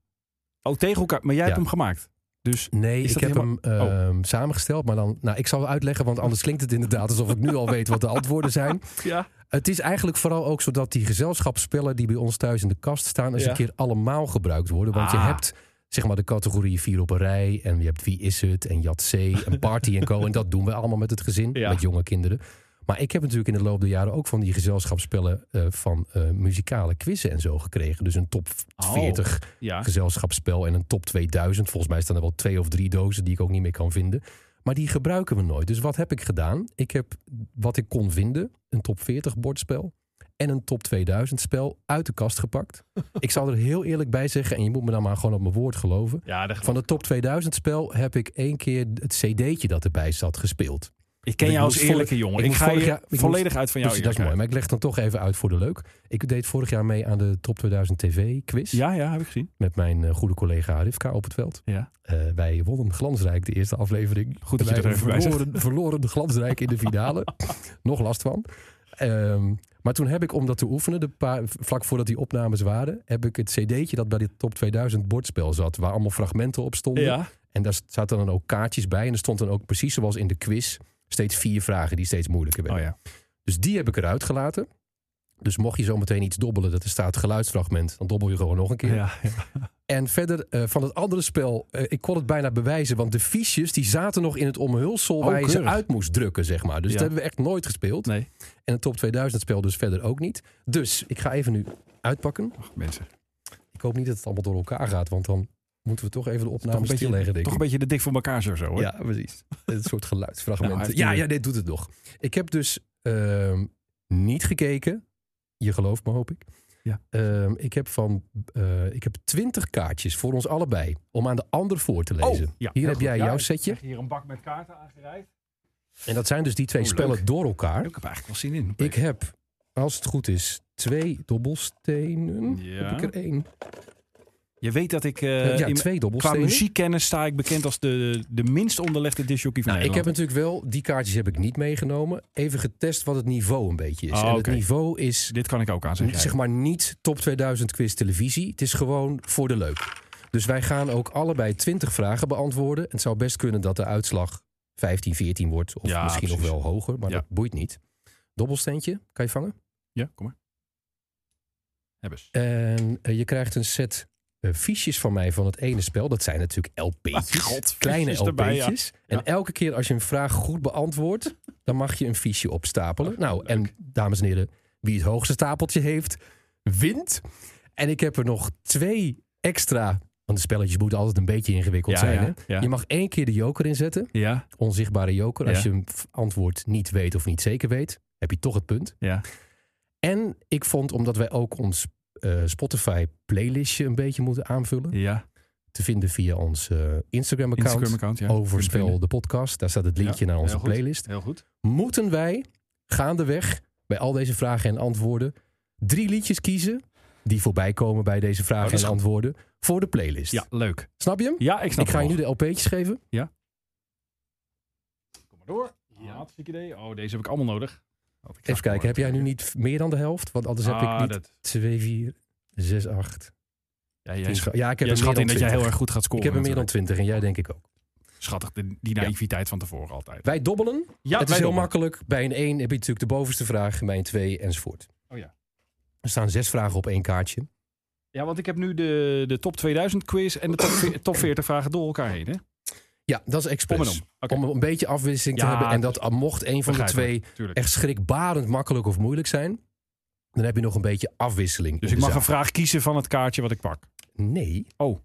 Oh, tegen elkaar. Maar jij hebt Ja. hem gemaakt. Dus Nee, Is ik dat heb helemaal- Oh. hem ehm, samengesteld. Maar dan, nou, ik zal uitleggen, want anders klinkt het inderdaad alsof ik nu al weet wat de antwoorden zijn. ja. Het is eigenlijk vooral ook zodat die gezelschapsspellen die bij ons thuis in de kast staan, eens Ja. een keer allemaal gebruikt worden. Want je Ah. hebt zeg maar de categorie vier op een rij en je hebt wie is het en Jat C en party en co. En dat doen we allemaal met het gezin, Ja. met jonge kinderen. Maar ik heb natuurlijk in de loop der jaren ook van die gezelschapsspellen eh, van eh, muzikale quizzen en zo gekregen. Dus een top Oh. 40 ja. gezelschapsspel en een top 2000. Volgens mij staan er wel twee of drie dozen die ik ook niet meer kan vinden. Maar die gebruiken we nooit. Dus wat heb ik gedaan? Ik heb wat ik kon vinden, een top 40 bordspel en een top 2000 spel uit de kast gepakt. ik zal er heel eerlijk bij zeggen, en je moet me dan maar gewoon op mijn woord geloven. Ja, dat- Van het top 2000 spel heb ik één keer het cd'tje dat erbij zat gespeeld. ik ken ik jou als moest vorig- eerlijke jongen. ik Ik, moest ga vorig je jaar- ik volledig uit van jou. Dus dat is mooi. Maar ik leg dan toch even uit voor de leuk. Ik deed vorig jaar mee aan de top 2000 tv quiz Ja, ja, heb ik gezien. met mijn eh, goede collega Rivka op het veld. Ja. Eh, wij wonnen glansrijk de eerste aflevering. Goed dat je Wij er even bij zegt. verloren, verloren glansrijk in de finale. Nog last van. Ehm, maar toen heb ik, om dat te oefenen, de paar, vlak voordat die opnames waren... heb ik het cd'tje dat bij dit top 2000 bordspel zat... waar allemaal fragmenten op stonden. Ja. En daar zaten dan ook kaartjes bij. En er stond dan ook precies zoals in de quiz... steeds vier vragen die steeds moeilijker werden. Oh ja. Dus die heb ik eruit gelaten. Dus mocht je zometeen iets dobbelen, dat er staat geluidsfragment... dan dobbel je gewoon nog een keer. ja. En verder eh, van het andere spel, eh, ik kon het bijna bewijzen, want de fiches die zaten nog in het omhulsel waar je ze Oh, keurig. uit moest drukken, zeg maar. Ja. Dus dat hebben we echt nooit gespeeld. Nee. En het top 2000 spel dus verder ook niet. Dus ik ga even nu uitpakken. Ach, mensen. Ik hoop niet dat het allemaal door elkaar gaat, want dan moeten we toch even de Toch een, opname stilleggen, beetje, denk toch een ik. beetje de dik voor elkaar zo, zo hoor. Ja, precies. Een soort geluidsfragmenten. Nou, hij heeft ja, nu- ja, dit doet het nog. Ik heb dus ehm, niet gekeken. Je gelooft me, hoop ik. Ja. Ehm, ik heb van, eh, ik heb twintig kaartjes voor ons allebei om aan de ander voor te lezen. Oh, ja, Hier heel heb goed. jij Ja, jouw ik setje. krijg hier een bak met kaarten aangereikt. En dat zijn dus die twee Oh, leuk. spellen door elkaar. Ik heb eigenlijk wel zin in. Ik heb, als het goed is, twee dobbelstenen. Ja. Heb ik er één. Je weet dat ik eh, ja, in- twee qua dobbelstenen. muziekkennis sta ik bekend als de, de minst onderlegde disjockey van Nou, ik heb Nederland. natuurlijk wel, die kaartjes heb ik niet meegenomen. Even getest wat het niveau een beetje is. Oh, en oké. het niveau is Dit kan ik ook aan zeggen. zeg maar niet top 2000 quiz televisie. Het is gewoon voor de leuk. Dus wij gaan ook allebei 20 vragen beantwoorden. Het zou best kunnen dat de uitslag 15, 14 wordt. Of Ja, misschien nog precies. wel hoger, maar Ja. dat boeit niet. Dobbelsteentje, kan je vangen? Ja, kom maar. Hebben ze. En eh, je krijgt een set eh, fiches van mij van het ene spel. Dat zijn natuurlijk LP'tjes. Ah, god, kleine fiches erbij, ja. LP'tjes. En elke keer als je een vraag goed beantwoordt, dan mag je een fiche opstapelen. nou, en dames en heren, wie het hoogste stapeltje heeft, wint. En ik heb er nog twee extra. Want de spelletjes moeten altijd een beetje ingewikkeld Ja, zijn. ja, hè? ja. Je mag één keer de joker inzetten. Ja, Onzichtbare joker. Als Ja. je een f- antwoord niet weet of niet zeker weet, heb je toch het punt. ja. En ik vond, omdat wij ook ons eh, Spotify playlistje een beetje moeten aanvullen. Ja. Te vinden via ons eh, Instagram account. Instagram-account, ja. Over Kun je Spel vinden. de podcast. Daar staat het linkje Ja, naar onze heel goed. playlist. Heel goed. Moeten wij gaandeweg bij al deze vragen en antwoorden drie liedjes kiezen die voorbij komen bij deze Oh, vragen dat is en goed. antwoorden voor de playlist. Ja, leuk. Snap je hem? Ja, ik snap ik ga het je nu wel. de LP'tjes geven. Kom maar door. Ja, hartstikke idee. Oh, deze heb ik allemaal nodig. Even kijken, heb jij nu niet meer dan de helft? Want anders heb ik Ah, niet dat- 2, 4, 6, 8. Ja, jij schat, tien scha- Ja, ik heb jij er meer schat dan in dat jij 20. heel erg goed gaat Ik scoren. heb er meer dan natuurlijk. 20 en jij denk ik ook. Schattig, de, die naïviteit van tevoren altijd. Wij dobbelen. Ja, het is wij heel doen. makkelijk. Bij een 1 heb je natuurlijk de bovenste vraag, bij een 2 enzovoort. Oh ja. Er staan zes vragen op één kaartje. Ja, want ik heb nu de, de top 2000 quiz en de top, ve- top 40 vragen door elkaar heen. Hè? Ja, dat is expres. Om en om. Oké. Om een beetje afwisseling Ja, te hebben. En dat al mocht een van de twee Begrijpelijk, tuurlijk. echt schrikbarend makkelijk of moeilijk zijn, dan heb je nog een beetje afwisseling. Dus in ik de mag een zaak. vraag kiezen van het kaartje wat ik pak. Nee. Oh.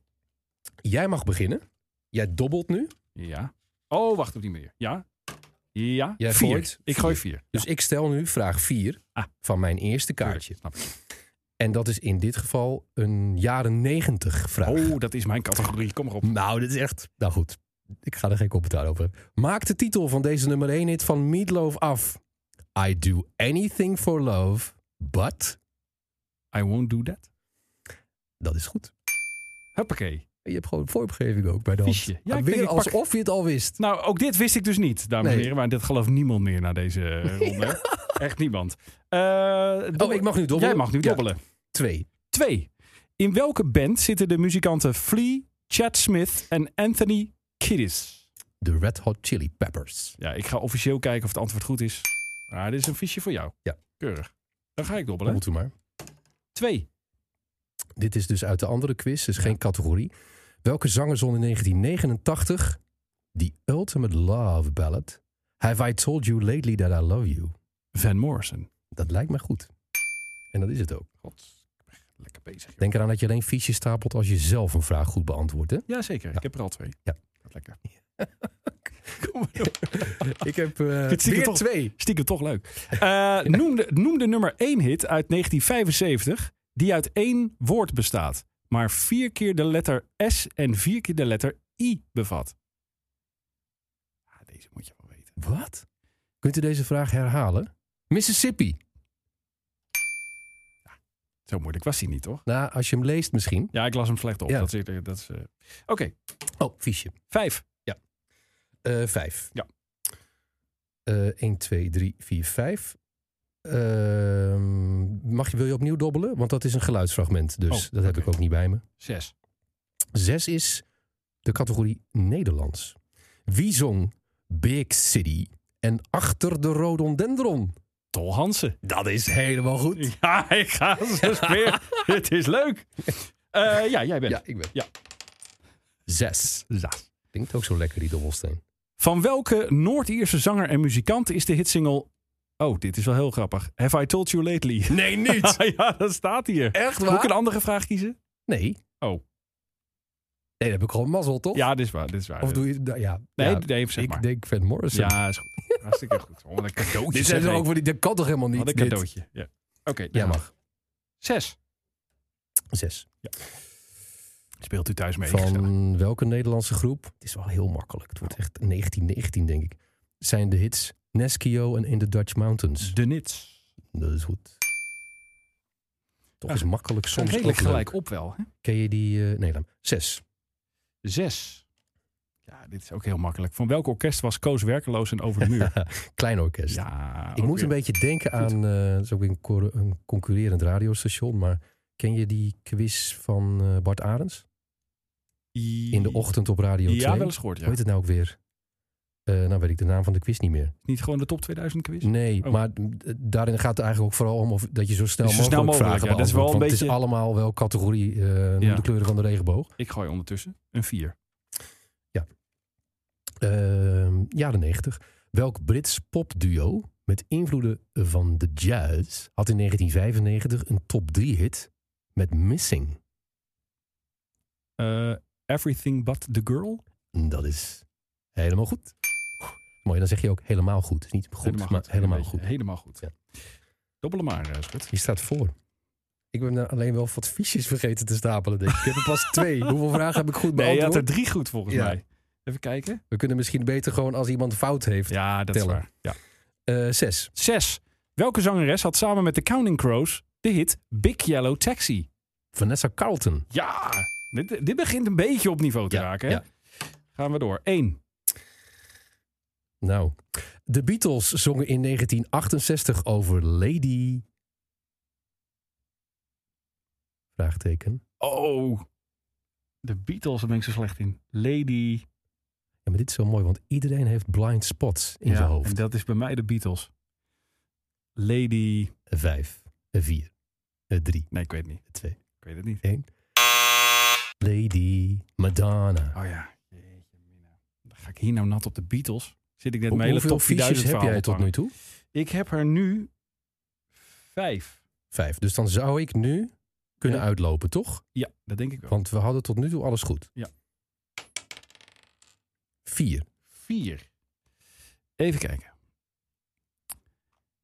Jij mag beginnen. Jij dobbelt nu. Ja. Oh, wacht op die meer. Ja. Ja. Jij vier. gooit Ik vier. gooi vier. Dus ik stel nu vraag 4 Ah. van mijn eerste kaartje. Snap ik. En dat is in dit geval een jaren 90 vraag. Oh, dat is mijn categorie. Kom maar op. Nou, dit is echt... Nou goed, ik ga er geen commentaar over hebben. Maak de titel van deze nummer 1 hit van Meatloaf af. I do anything for love, but... I won't do that. Dat is goed. Huppakee. Je hebt gewoon vormgeving ook bij de hand. Viesje. Ja, ik Weer denk, ik pak- alsof je het al wist. Nou, ook dit wist ik dus niet, dames en Nee. heren. Maar dit gelooft niemand meer na deze eh, ronde. Echt niemand. Eh, dobbel- Oh, ik mag nu dobbelen? Jij mag nu Ja. dobbelen. Twee. Twee. In welke band zitten de muzikanten Flea, Chad Smith en Anthony Kiedis? De Red Hot Chili Peppers. Ja, ik ga officieel kijken of het antwoord goed is. Maar dit is een fiche voor jou. Ja. Keurig. Dan ga ik dobbelen. Komt u maar. Twee. Dit is dus uit de andere quiz, dus geen categorie. Welke zanger zong in 1989 die ultimate love ballad? Have I told you lately that I love you? Van Morrison. Dat lijkt me goed. En dat is het ook. God, ik ben echt lekker bezig. joh. Denk eraan dat je alleen fiches stapelt als je zelf een vraag goed beantwoordt. Hè? Jazeker, ik heb er al twee. Ja. Gaat lekker. Kom maar door. Ik heb eh Dit zie ik weer toch. twee. Stiekem toch leuk. Eh, noem, de, noem de nummer 1 hit uit 1975 die uit één woord bestaat, maar vier keer de letter S en vier keer de letter I bevat. Ah, deze moet je wel weten. Wat? Kunt u deze vraag herhalen? Mississippi. Zo moeilijk was hij niet, toch? Nou, als je hem leest misschien. Ja, ik las hem slecht op. Ja. Dat is, eh, dat is, eh, Oké, Oh, fiche. vijf. Eh, vijf. Ja. Eh 1, 2, 3, 4, 5. Ehm, mag je, wil je opnieuw dobbelen? Want dat is een geluidsfragment, dus Oh, dat heb oké. ik ook niet bij me. Zes. Zes is de categorie Nederlands. Wie zong Big City en Achter de Rhododendron? Tol Hansen. Dat is helemaal goed. Ja, ik ga ze weer. Het is leuk. Eh, ja, jij bent. Ja, ik ben. Ja. Zes. Zes. Klinkt ook zo lekker, die dobbelsteen. Van welke Noord-Ierse zanger en muzikant is de hitsingle... Oh, dit is wel heel grappig. Have I told you lately? Ah, Nee, niet. ja, dat staat hier. Echt Moet ik een waar? andere vraag kiezen? Nee. Nee, Oh. dat heb ik gewoon mazzel, toch? Ja, dit is waar. Dit is waar. Of doe je... nou, ja. Nee, ja. nee zeg ik maar. denk Van Morrison. Ja, is goed. Hartstikke goed. Oh, wat een cadeautje. Dit zijn zeg, er ook hé. voor die... Dat kan toch helemaal niet? Wat een dit? cadeautje. Ja. Oké, Ja, nou, mag. Zes. Zes. Speelt u thuis mee? gezellig. Van welke Nederlandse groep? Het is wel heel makkelijk. Het wordt echt 1919, denk ik. Zijn de hits Neskio en In the Dutch Mountains. De Nits. Dat is goed. Toch is makkelijk soms redelijk ook leuk. gelijk op wel. Hè? Ken je die... eh, nee, laat maar. Zes. Zes. Ja, dit is ook heel makkelijk. Van welk orkest was Koos werkeloos en over de muur? Klein orkest. ja, Ik ook moet weer. een beetje denken aan, eh dat is ook weer een, cor- een concurrerend radiostation, maar ken je die quiz van eh, Bart Arends? In de ochtend op Radio 2. Ja, wel eens gehoord. Hoe Ja. heet het nou ook weer? Eh, nou weet ik de naam van de quiz niet meer. Niet gewoon de top 2000 quiz? Nee, Oh. maar d- daarin gaat het eigenlijk ook vooral om of, dat je zo snel Zo mogelijk, snel mogelijk, vragen ja, dat is wel beantwoordt, een want beetje- Het is allemaal wel categorie eh, noem Ja. de kleuren van de regenboog. Ik gooi ondertussen een 4. Ehm jaren 90. Welk Brits popduo met invloeden van de jazz had in 1995 een top 3 hit met Missing? Eh, everything but the girl? Dat is helemaal goed. Mooi, dan zeg je ook helemaal goed. Het is Niet goed, maar helemaal Een beetje- goed. Helemaal goed. Ja. Dobbelen maar, eh, Schut. Je staat voor. Ik ben nou alleen wel wat fiches vergeten te stapelen, denk ik. Ik heb er pas twee. Hoeveel vragen heb ik goed Nee, je beantwoord? had er drie goed volgens Ja. mij. Even kijken. We kunnen misschien beter gewoon als iemand fout heeft. Ja, dat Tellen. is waar. Ja. Eh, zes. Zes. Welke zangeres had samen met de Counting Crows de hit Big Yellow Taxi? Vanessa Carlton. Ja, dit, dit begint een beetje op niveau te Ja, raken. Hè? ja. Gaan we door. Eén. Nou, de Beatles zongen in 1968 over Lady. Vraagteken. Oh. De Beatles, daar ben ik zo slecht in. Lady. Ja, maar dit is zo mooi, want iedereen heeft blind spots in zijn en hoofd. dat is bij mij de Beatles. Lady. Vijf, eh, vier, eh, drie, Nee, ik weet het niet. eh, twee, Ik weet het niet. één. Lady Madonna. Oh ja. Jeetje, mina. Dan ga ik hier nou nat op de Beatles. Zit ik net Hoe- mijn hele hoeveel top fiches 4000 heb jij tot nu toe? toe? Ik heb er nu vijf. Vijf. Dus dan zou ik nu kunnen Ja. uitlopen, toch? Ja, dat denk ik wel. Want we hadden tot nu toe alles goed. Ja. Vier. Vier. Even kijken.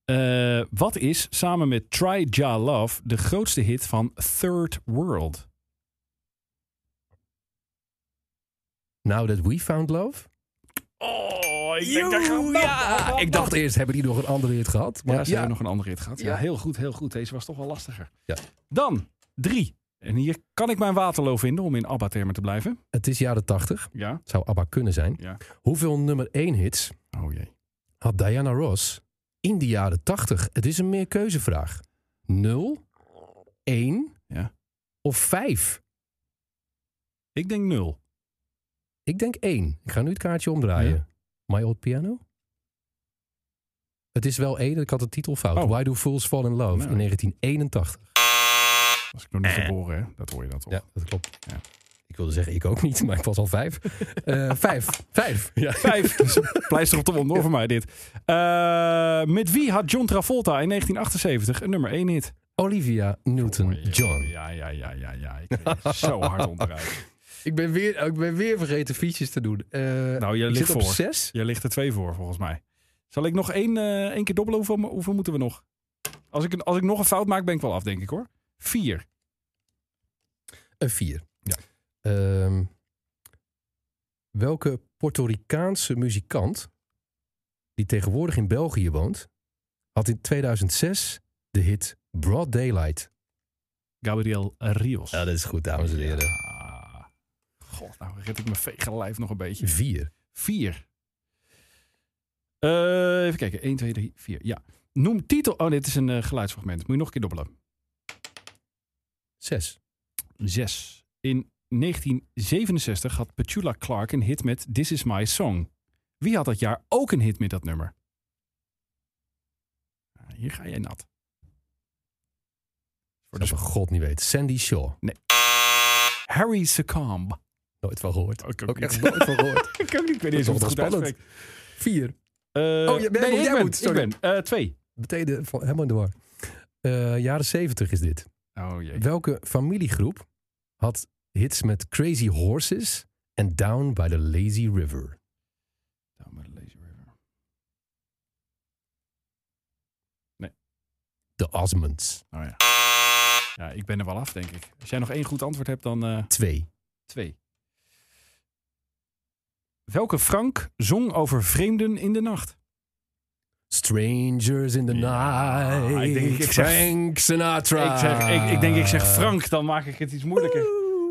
Eh, wat is samen met Try Ja Love de grootste hit van Third World? Now that we found love. Oh, ik ja. Ik dacht eerst, hebben die nog een andere hit gehad? Ja, Maar ze ja, hebben nog een andere hit gehad. Ja, Ja. heel goed, heel goed. Deze was toch wel lastiger. Ja. Dan drie. En hier kan ik mijn Waterloo vinden om in ABBA-termen te blijven. het is jaren 80. Ja. Zou ABBA kunnen zijn. Ja. Hoeveel nummer 1 hits Oh jee. had Diana Ross in de jaren 80? Het is een meerkeuzevraag. 0, 1 Ja. of 5? Ik denk nul. Ik denk 1. Ik ga nu het kaartje omdraaien. Ja. My Old Piano? Het is wel 1, ik had de titel fout. Oh. Why Do Fools Fall In Love Nou. in 1981. Was ik nog niet geboren, hè? Dat hoor je dat toch? Ja, dat klopt. Ja. Ik wilde zeggen, ik ook niet, maar ik was al vijf. Eh, vijf. Vijf. Ja. Vijf. Dus een Pleister op de wond hoor voor mij dit. Eh, met wie had John Travolta in 1978 een nummer 1 hit? Olivia Newton-John. Oh, Ja, ja, ja, ja, ja. Ik kreeg er zo hard onderuit. Ik, ben weer- ik ben weer vergeten fietsjes te doen. Eh, Nou, je ik ligt zit op voor. zes. Jij ligt er twee voor, volgens mij. Zal ik nog één, eh, één keer dobbelen? Hoeveel, hoeveel moeten we nog? Als ik, een- als ik nog een fout maak, ben ik wel af, denk ik hoor. Vier. Een Eh, vier. Ja. Ehm, welke Puerto Ricaanse muzikant, die tegenwoordig in België woont, had in 2006 de hit Broad Daylight? Gabriel Rios. dat is goed, dames en heren. Ah. God, nou red ik mijn vege lijf nog een beetje. Vier. Vier. Eh, even kijken. 1, 2, 3, 4. Ja. Noem titel. Oh, dit is een eh, geluidsfragment. Moet je nog een keer dobbelen. Zes. Zes. In 1967 had Petula Clark een hit met This Is My Song. Wie had dat jaar ook een hit met dat nummer? Ah, Hier ga jij nat. Dat is een god niet weet. Sandy Shaw. Harry Secombe. Nooit van gehoord. Oh, Ook- ook Ook niet. echt nooit van gehoord. Ik ook niet. Ik weet eens of ik het goed Vier. Oh, jij- jij Eh, nee, moet- ik jij ben, moet, sorry. Ik ben. Eh, twee. Betekent van- helemaal in de war. Eh, jaren zeventig is dit. Oh jee. Welke familiegroep had hits met Crazy Horses en Down by the Lazy River? Down by the Lazy River. De Osmonds. Oh ja. Ja, ik ben er wel af, denk ik. Als jij nog één goed antwoord hebt, dan eh, Twee. twee. Welke Frank zong over vreemden in de nacht? Strangers in the night. ik denk, ik zeg- Frank Sinatra. Ik, zeg, ik, ik denk, ik zeg Frank, dan maak ik het iets moeilijker.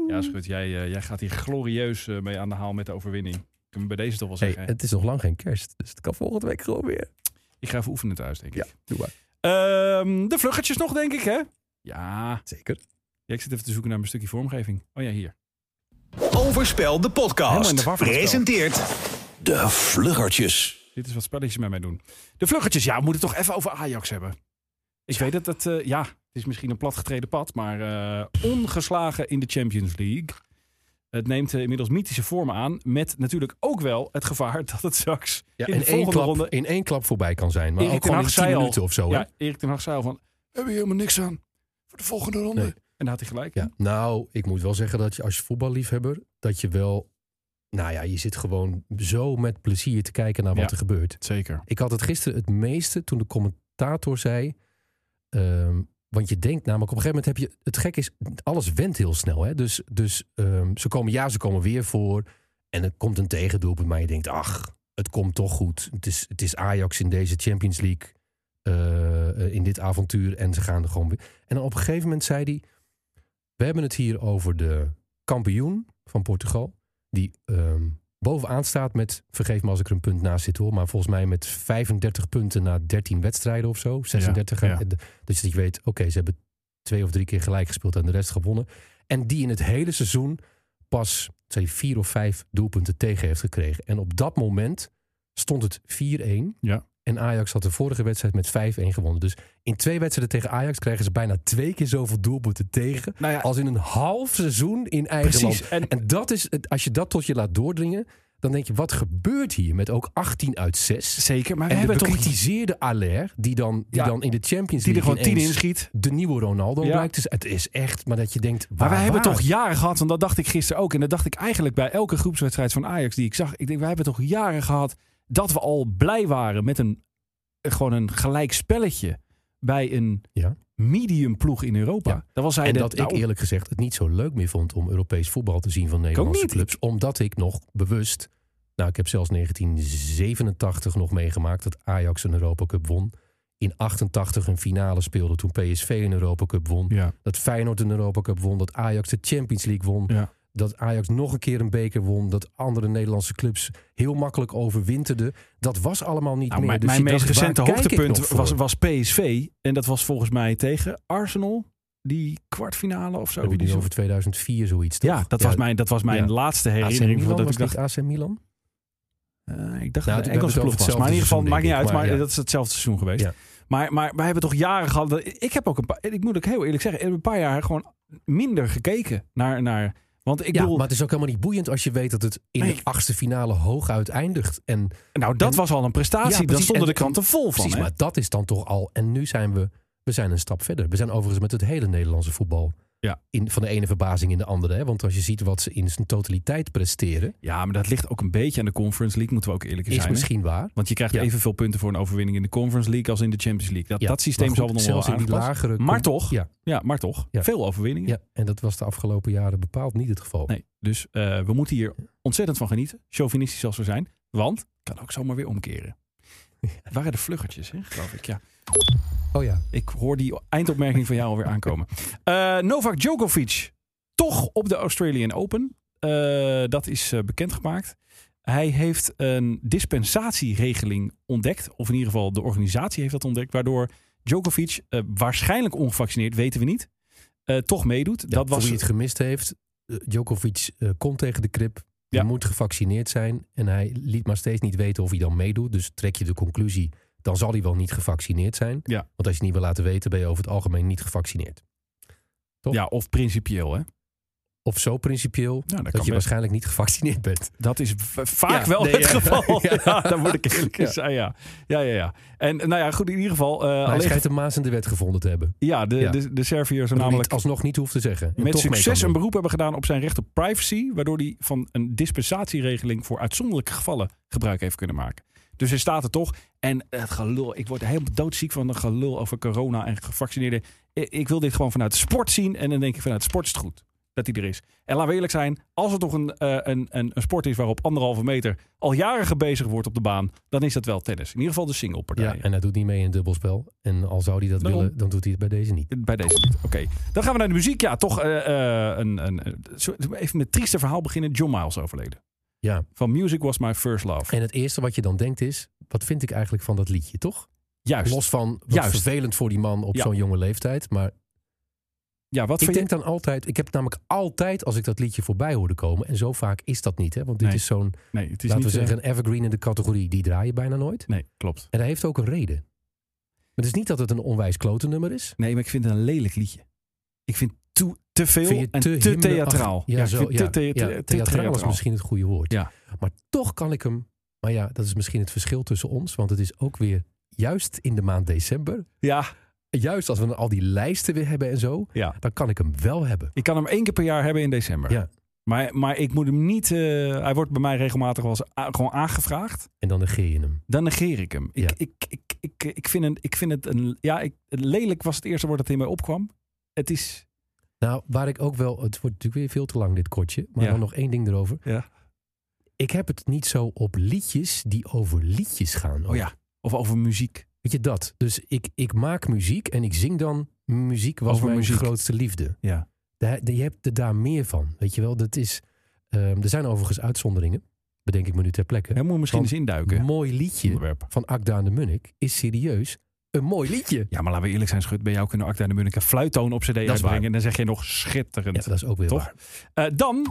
Ja, is goed. Jij, eh, jij gaat hier glorieus eh, mee aan de haal met de overwinning. Ik kan me bij deze toch wel Hey, zeggen. het is nog lang geen kerst, dus het kan volgende week gewoon weer. Ik ga even oefenen thuis, denk ik. Ja, doe maar. Ehm, de vluggetjes nog, denk ik, hè? Ja. Zeker. Ja, Ik zit even te zoeken naar mijn stukje vormgeving. Oh ja, hier. Overspel de Helemaal in de podcast. war van het spel. Presenteert De Vluggertjes. Dit is wat spelletjes met mij doen. De vluggetjes, ja, we moeten het toch even over Ajax hebben. Ik weet dat dat, eh, ja, het is misschien een platgetreden pad, maar eh, ongeslagen in de Champions League. Het neemt eh, inmiddels mythische vormen aan, met natuurlijk ook wel het gevaar dat het straks Ja, in in, de één volgende klap, ronde... in één klap voorbij kan zijn. Maar Erik ook ten gewoon in Hag 10 zei al- minuten of zo. hè? Ja, Erik ten Hag zei al van, hebben je helemaal niks aan voor de volgende ronde. Nee. En daar had hij gelijk. Ja, nou, ik moet wel zeggen dat je als voetballiefhebber, dat je wel, nou ja, je zit gewoon zo met plezier te kijken naar wat Ja. er gebeurt. Zeker. Ik had het gisteren het meeste toen de commentator zei, ehm, want je denkt namelijk op een gegeven moment heb je, het gek is, alles went heel snel. Hè? Dus, dus ehm, ze komen ja, ze komen weer voor en er komt een tegendoelpunt, maar je denkt, ach, het komt toch goed. Het is, het is Ajax in deze Champions League, eh, eh, in dit avontuur en ze gaan er gewoon weer. En dan op een gegeven moment zei hij, we hebben het hier over de kampioen van Portugal. Die ehm, bovenaan staat met, vergeef me als ik er een punt naast zit hoor, maar volgens mij met 35 punten na 13 wedstrijden of zo. 36. Ja, ja. Eh, d- Dus dat je weet, oké, ze hebben twee of drie keer gelijk gespeeld en de rest gewonnen. En die in het hele seizoen pas twee, vier of vijf doelpunten tegen heeft gekregen. En op dat moment stond het 4-1. Ja. En Ajax had de vorige wedstrijd met 5-1 gewonnen. Dus in twee wedstrijden tegen Ajax krijgen ze bijna twee keer zoveel doelpunten tegen. Nou ja, als in een half seizoen in eigen Precies, land. en- En, dat is, het- als je dat tot je laat doordringen, dan denk je, wat gebeurt hier met ook 18 uit 6? Zeker, maar we En de hebben toch iets bekritiseerde Aller, die dan, die Ja, dan in de Champions die er League gewoon tien ineens inschiet. de nieuwe Ronaldo Ja. blijkt. Dus het is echt, maar dat je denkt, waar, Maar wij hebben Ah, waar? toch jaren gehad, en dat dacht ik gisteren ook. En dat dacht ik eigenlijk bij elke groepswedstrijd van Ajax die ik zag. Ik denk, wij hebben toch jaren gehad dat we al blij waren met een, eh, gewoon een gelijk spelletje bij een Ja. medium ploeg in Europa. Ja. Dat was hij En de- dat ik nou, eerlijk gezegd het niet zo leuk meer vond om Europees voetbal te zien van Nederlandse niet. clubs. Omdat ik nog bewust, nou ik heb zelfs 1987 nog meegemaakt dat Ajax een Europa Cup won. In 88 een finale speelde toen PSV een Europa Cup won. Ja, Dat Feyenoord een Europa Cup won. Dat Ajax de Champions League won. ja. Dat Ajax nog een keer een beker won. Dat andere Nederlandse clubs heel makkelijk overwinterden. Dat was allemaal niet Nou, meer. mijn Dus mijn je meest dacht, waar recente kijk ik nog hoogtepunt voor? was, was PSV. En dat was volgens mij tegen Arsenal. Die kwartfinale of zo. Heb je Die nu zo- Oh, over 2004 zoiets toch? ja, dat was mijn, dat was mijn Ja. laatste AC herinnering. Milan, voordat was ik dacht, niet AC Milan? Eh, ik dacht Nou, dat het we hebben Engelse het ploeg over was. Maar in ieder geval, hetzelfde maakt niet uit. seizoen, denk Maar ik, maar ja. dat is hetzelfde seizoen geweest. Ja. Maar, maar wij hebben toch jaren gehad. dat- Ik heb ook een paar. Ik moet ook heel eerlijk zeggen. Ik heb een paar jaar gewoon minder gekeken naar. naar want ik ja, bedoel, maar het is ook helemaal niet boeiend als je weet dat het in Nee. de achtste finale hooguit eindigt. En nou, dat en- was al een prestatie. Ja, Dan precies. stonden En- de kranten vol van. precies, hè? maar dat is dan toch al. En nu zijn we, we zijn een stap verder. We zijn overigens met het hele Nederlandse voetbal Ja. in, van de ene verbazing in de andere. Hè? Want als je ziet wat ze in zijn totaliteit presteren, Ja, maar dat ligt ook een beetje aan de Conference League. Moeten we ook eerlijk in is zijn. hè? misschien waar. Want je krijgt Ja. evenveel punten voor een overwinning in de Conference League als in de Champions League. Dat, Ja, dat systeem maar zal goed, nog wel zelfs in die aangepast. lagere. Maar toch, ja. Ja. maar toch. Ja. Veel overwinningen. Ja, en dat was de afgelopen jaren bepaald niet het geval. Nee, dus eh, we moeten hier ontzettend van genieten. Chauvinistisch als we zijn. Want kan ook zomaar weer omkeren. Het waren de vluggertjes, hè, geloof ik. Ja. Oh ja, Ik hoor die eindopmerking van jou alweer aankomen. Eh, Novak Djokovic, toch op de Australian Open. Eh, dat is eh, bekendgemaakt. Hij heeft een dispensatieregeling ontdekt. Of in ieder geval de organisatie heeft dat ontdekt. Waardoor Djokovic, eh, waarschijnlijk ongevaccineerd, weten we niet, eh, toch meedoet. Ja, dat voor was wie het gemist heeft. eh, Djokovic eh, kon tegen de krip. Ja. Hij moet gevaccineerd zijn. En hij liet maar steeds niet weten of hij dan meedoet. Dus trek je de conclusie, dan zal hij wel niet gevaccineerd zijn. Ja. Want als je het niet wil laten weten, ben je over het algemeen niet gevaccineerd. toch? Ja, of principieel, hè? Of zo principieel, dat kan dat je best. waarschijnlijk niet gevaccineerd bent. Dat is v- vaak Ja, wel nee, het ja. geval. Ja, Ja. daar moet ik eerlijk in Ja. zijn. Ja. ja, ja, ja. En nou ja, goed, in ieder geval. eh, Maar hij alleen, schijnt een maas in de wet gevonden te hebben. ja, de, Ja. de, de Serviërs zijn Namelijk, namelijk alsnog niet hoeft te zeggen. En met toch mee kan succes doen. een beroep hebben gedaan op zijn recht op privacy. Waardoor hij van een dispensatieregeling voor uitzonderlijke gevallen gebruik heeft kunnen maken. Dus hij staat er toch. En het gelul, ik word helemaal doodziek van de gelul over corona en gevaccineerden. I- Ik wil dit gewoon vanuit de sport zien. En dan denk ik vanuit de sport is het goed. dat die er is. En laten we eerlijk zijn, als er toch een, eh, een, een, een sport is waarop anderhalve meter al jaren gebezigd wordt op de baan, dan is dat wel tennis. In ieder geval de singlepartijen. Ja, en hij doet niet mee in dubbelspel. En al zou hij dat Waarom? willen, dan doet hij het bij deze niet. Bij deze niet. Oké. Dan gaan we naar de muziek. Ja, toch eh, eh, een, een, een- zo- even met het trieste verhaal beginnen. John Miles overleden. Ja. Van Music Was My First Love. En het eerste wat je dan denkt is, wat vind ik eigenlijk van dat liedje, toch? Juist. Los van, wat Juist. vervelend voor die man op Ja. zo'n jonge leeftijd. Maar Ja, wat ik vind denk dan altijd, ik heb namelijk altijd als ik dat liedje voorbij hoorde komen. En zo vaak is dat niet, hè? Want dit Nee. is zo'n, je? Nee, het is laten we niet... eh, zeggen, een evergreen in de categorie. Die draai je bijna nooit. nee, klopt. En dat heeft ook een reden. Maar het is niet dat het een onwijs klote nummer is. Nee, maar ik vind het een lelijk liedje. Ik vind toe, te veel Vind je en te te, hymneach- theatraal. Ja, ik zo, vind ja, te, thea- ja, te- te theatraal is theatraal. misschien het goede woord. Ja. Maar toch kan ik hem... Maar ja, dat is misschien het verschil tussen ons. Want het is ook weer juist in de maand december. Ja, Juist als we dan al die lijsten weer hebben en zo. ja, Dan kan ik hem wel hebben. ik kan hem één keer per jaar hebben in december. Ja. Maar, maar ik moet hem niet... eh, hij wordt bij mij regelmatig wel eens a- gewoon aangevraagd. En dan negeer je hem. dan negeer ik hem. Ik, Ja. ik, ik, ik, ik, vind, een, ik vind het een. Ja, ik, het lelijk was het eerste woord dat in mij opkwam. Het is. Nou, waar ik ook wel... Het wordt natuurlijk weer veel te lang dit kortje. Maar Ja. dan nog één ding erover. Ja. Ik heb het niet zo op liedjes die over liedjes gaan. Oh ja. Of over muziek. Weet je dat? Dus ik, ik maak muziek en ik zing dan... Muziek was Over mijn muziek. grootste liefde. Ja. Daar- daar- je hebt er daar meer van. Weet je wel, dat is. ehm, er zijn overigens uitzonderingen, bedenk ik me nu ter plekke. Hij moet misschien Want eens induiken. Een mooi liedje Onderwerp. van Akda en de Munnik is serieus een mooi liedje. Ja, maar laten we eerlijk zijn, Schut. Bij jou kunnen Acta en de Munnik een fluittoon op CD waar. uitbrengen. En dan zeg je nog schitterend. Ja, dat is ook weer toch? waar. Eh, dan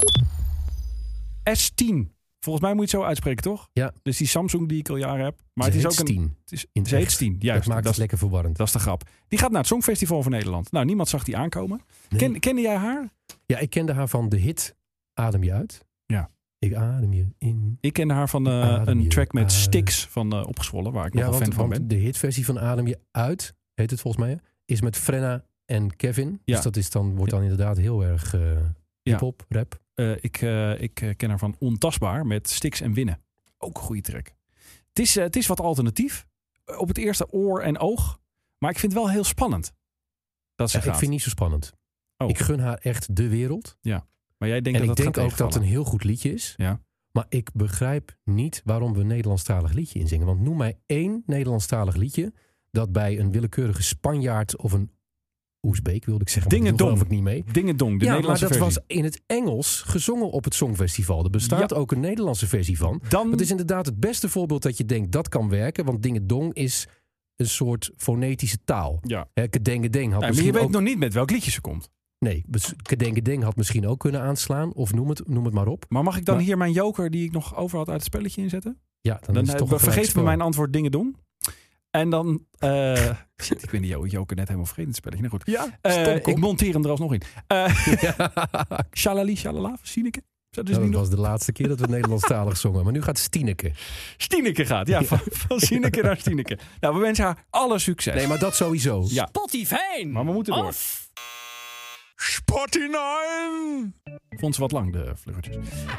S10. Volgens mij moet je het zo uitspreken, toch? Ja. Dus die Samsung die ik al jaren heb. Maar Ze het is heet ook een. Steen. Het is, In het ze heet echt. Steen, dat Juist. maakt dat, het lekker verwarrend. dat is de grap. Die gaat naar het Songfestival van Nederland. Nou, niemand zag die aankomen. Nee. Ken, kende jij haar? Ja, ik kende haar van de hit Adem je uit. Ja. Ik adem je in. Ik kende haar van eh, Adem een je track met uit. Stix van eh, Opgezwollen, waar ik nog Ja, wel fan want, van want ben. de hitversie van Adem je uit, heet het volgens mij, hè, is met Frenna en Kevin. Ja. Dus dat is dan, wordt dan inderdaad heel erg eh hip-hop, rap. Eh, ik eh, ik eh, ken haar van Ontastbaar met Stix en Winnen. Ook een goede track. Het is, eh, het is wat alternatief. Eh, Op het eerste oor en oog. Maar ik vind het wel heel spannend. Dat ze Ja, ik gaat. vind het niet zo spannend. Oh. Ik gun haar echt de wereld. Maar jij denkt en dat ik dat denk gaat ook dat het een tegenvallen. heel goed liedje is. Ja. Maar ik begrijp niet waarom we een Nederlandstalig liedje inzingen. Want noem mij één Nederlandstalig liedje dat bij een willekeurige Spanjaard of een Oezbeek, wilde ik zeggen. maar Dingen dat doe dom. geloof ik niet mee. Dingedong, de ja, maar dat Nederlandse was versie. in het Engels gezongen op het Songfestival. Er bestaat ook een Nederlandse versie van. Dan, Het is inderdaad het beste voorbeeld dat je denkt dat kan werken. Want Dingedong is een soort fonetische taal. ja. Hè, Kedengedeng had Ja, maar misschien je weet ook... nog niet met welk liedje ze komt. Nee, bes- Kedengedeng had misschien ook kunnen aanslaan. Of noem het, noem het maar op. Maar mag ik dan Maar- hier mijn joker die ik nog over had uit het spelletje inzetten? Ja, dan, Dan, is het toch eh, een vergeet me gelijkspel. mijn antwoord Dingedong. En dan... eh, shit, ik ben die joker net helemaal vergeten in het spelletje. Nou goed. Ja, Eh, stomkop. ik monteer hem er alsnog in. Eh Ja. shalali, shalala, van Sineke. Zou dus Nou, niet dat nog... was de laatste keer dat we Nederlandstalig zongen. Maar nu gaat Stineke. Stineke gaat, ja. Van, van Sineke naar Stineke. Nou, we wensen haar alle succes. Nee, maar dat sowieso. Ja. Spotify! Maar we moeten door. Af! Spotify! Vond ze wat lang, de vluggertjes.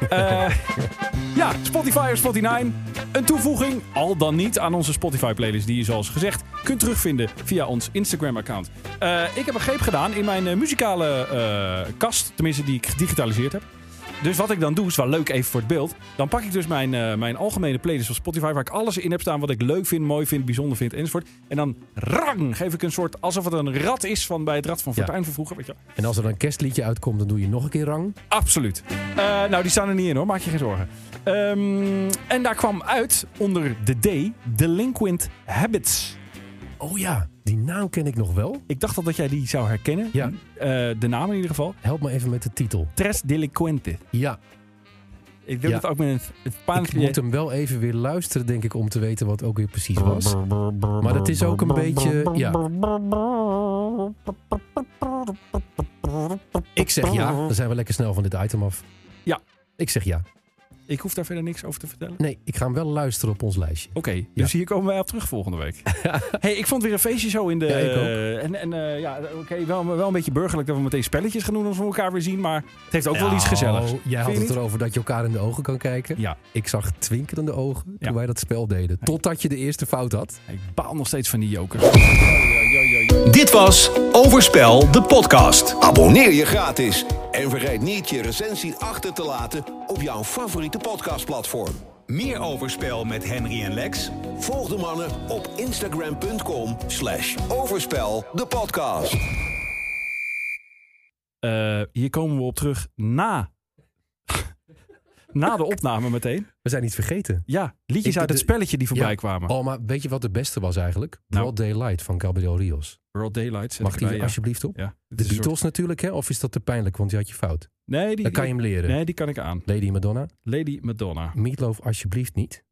Eh, ja, Spotify of Spotify. Een toevoeging, al dan niet, aan onze Spotify-playlist... die je, zoals gezegd, kunt terugvinden via ons Instagram-account. Eh, ik heb een greep gedaan in mijn eh, muzikale eh, kast. Tenminste, die ik gedigitaliseerd heb. Dus wat ik dan doe, is wel leuk even voor het beeld. Dan pak ik dus mijn, eh, mijn algemene playlist van Spotify... waar ik alles in heb staan wat ik leuk vind, mooi vind, bijzonder vind enzovoort. En dan rang geef ik een soort... alsof het een rad is van bij het Rad van Ja. Fortuin van vroeger. Weet je wel. En als er een kerstliedje uitkomt, dan doe je nog een keer rang. Absoluut. Eh, nou, die staan er niet in hoor, maak je geen zorgen. Ehm, en daar kwam uit onder de D Delinquent Habits. Oh ja, die naam ken ik nog wel. Ik dacht al dat jij die zou herkennen. Ja. Eh, de naam in ieder geval. Help me even met de titel. Tres Delinquente. Ja, Ik wil Ja. het ook met een Spaans ik moet hem wel even weer luisteren, denk ik, om te weten wat ook weer precies was. Maar dat is ook een beetje... Ja. Ik zeg ja, dan zijn we lekker snel van dit item af. Ja. Ik zeg ja. Ik hoef daar verder niks over te vertellen. Nee, ik ga hem wel luisteren op ons lijstje. Oké, dus hier komen wij op terug volgende week. hey, ik vond weer een feestje zo in de... Ja, ik ook. eh, en en eh, ja, oké, wel, wel een beetje burgerlijk dat we meteen spelletjes gaan doen als we elkaar weer zien. Maar het heeft ook wel iets gezelligs. Nou, Jij Vind had je het niet? erover dat je elkaar in de ogen kan kijken. Ja. Ik zag twinkelende ogen toen Ja. wij dat spel deden. Totdat je de eerste fout had. Ik baal nog steeds van die jokers. Dit was Overspel, de podcast. Abonneer je gratis En vergeet niet je recensie achter te laten op jouw favoriete podcastplatform. Meer overspel met Henry en Lex. Volg de mannen op instagram.com slash overspel de podcast. Eh, hier komen we op terug na, na de opname meteen. We zijn niet vergeten. Ja, liedjes Ik- uit het de- spelletje die voorbij Ja. kwamen. Oh, maar weet je wat de beste was eigenlijk? Nou. Broad Daylight van Gabriel Rios. World Daylight. zet Mag ik die erbij, ja. alsjeblieft op? Ja, dit De is een Beatles natuurlijk, hè? Of is dat te pijnlijk, want je had je fout? soort- Nee, die, Dan kan je hem leren. nee, die kan ik aan. Lady Madonna. Lady Madonna. Meatloaf alsjeblieft niet.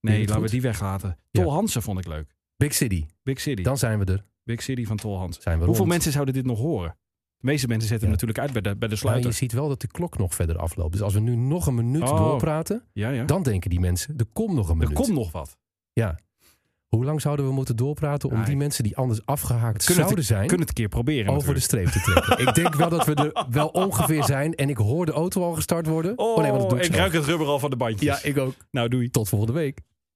Nee, het laten we goed? die weglaten. Ja. Tol Hansen vond ik leuk. Big City. Big City. Dan zijn we er. Big City van Tol Hansen. Zijn we Hoeveel rond. mensen zouden dit nog horen? De meeste mensen zetten Ja. hem natuurlijk uit bij de, bij de Maar je sluiter. ziet wel dat de klok nog verder afloopt. Dus als we nu nog een minuut Oh. doorpraten, Ja, ja. dan denken die mensen, er komt nog een minuut. er komt nog wat. Ja. Hoe lang zouden we moeten doorpraten om Nee. die mensen die anders afgehaakt Kunnen zouden het, zijn, Kunnen het een keer proberen. over de natuurlijk. streep te trekken? ik denk wel dat we er wel ongeveer zijn. En ik hoor de auto al gestart worden. Oh, nee, want dat doe ik ik zelf. ruik het rubber al van de bandjes. Ja, ik ook. Nou, doei. Tot volgende week.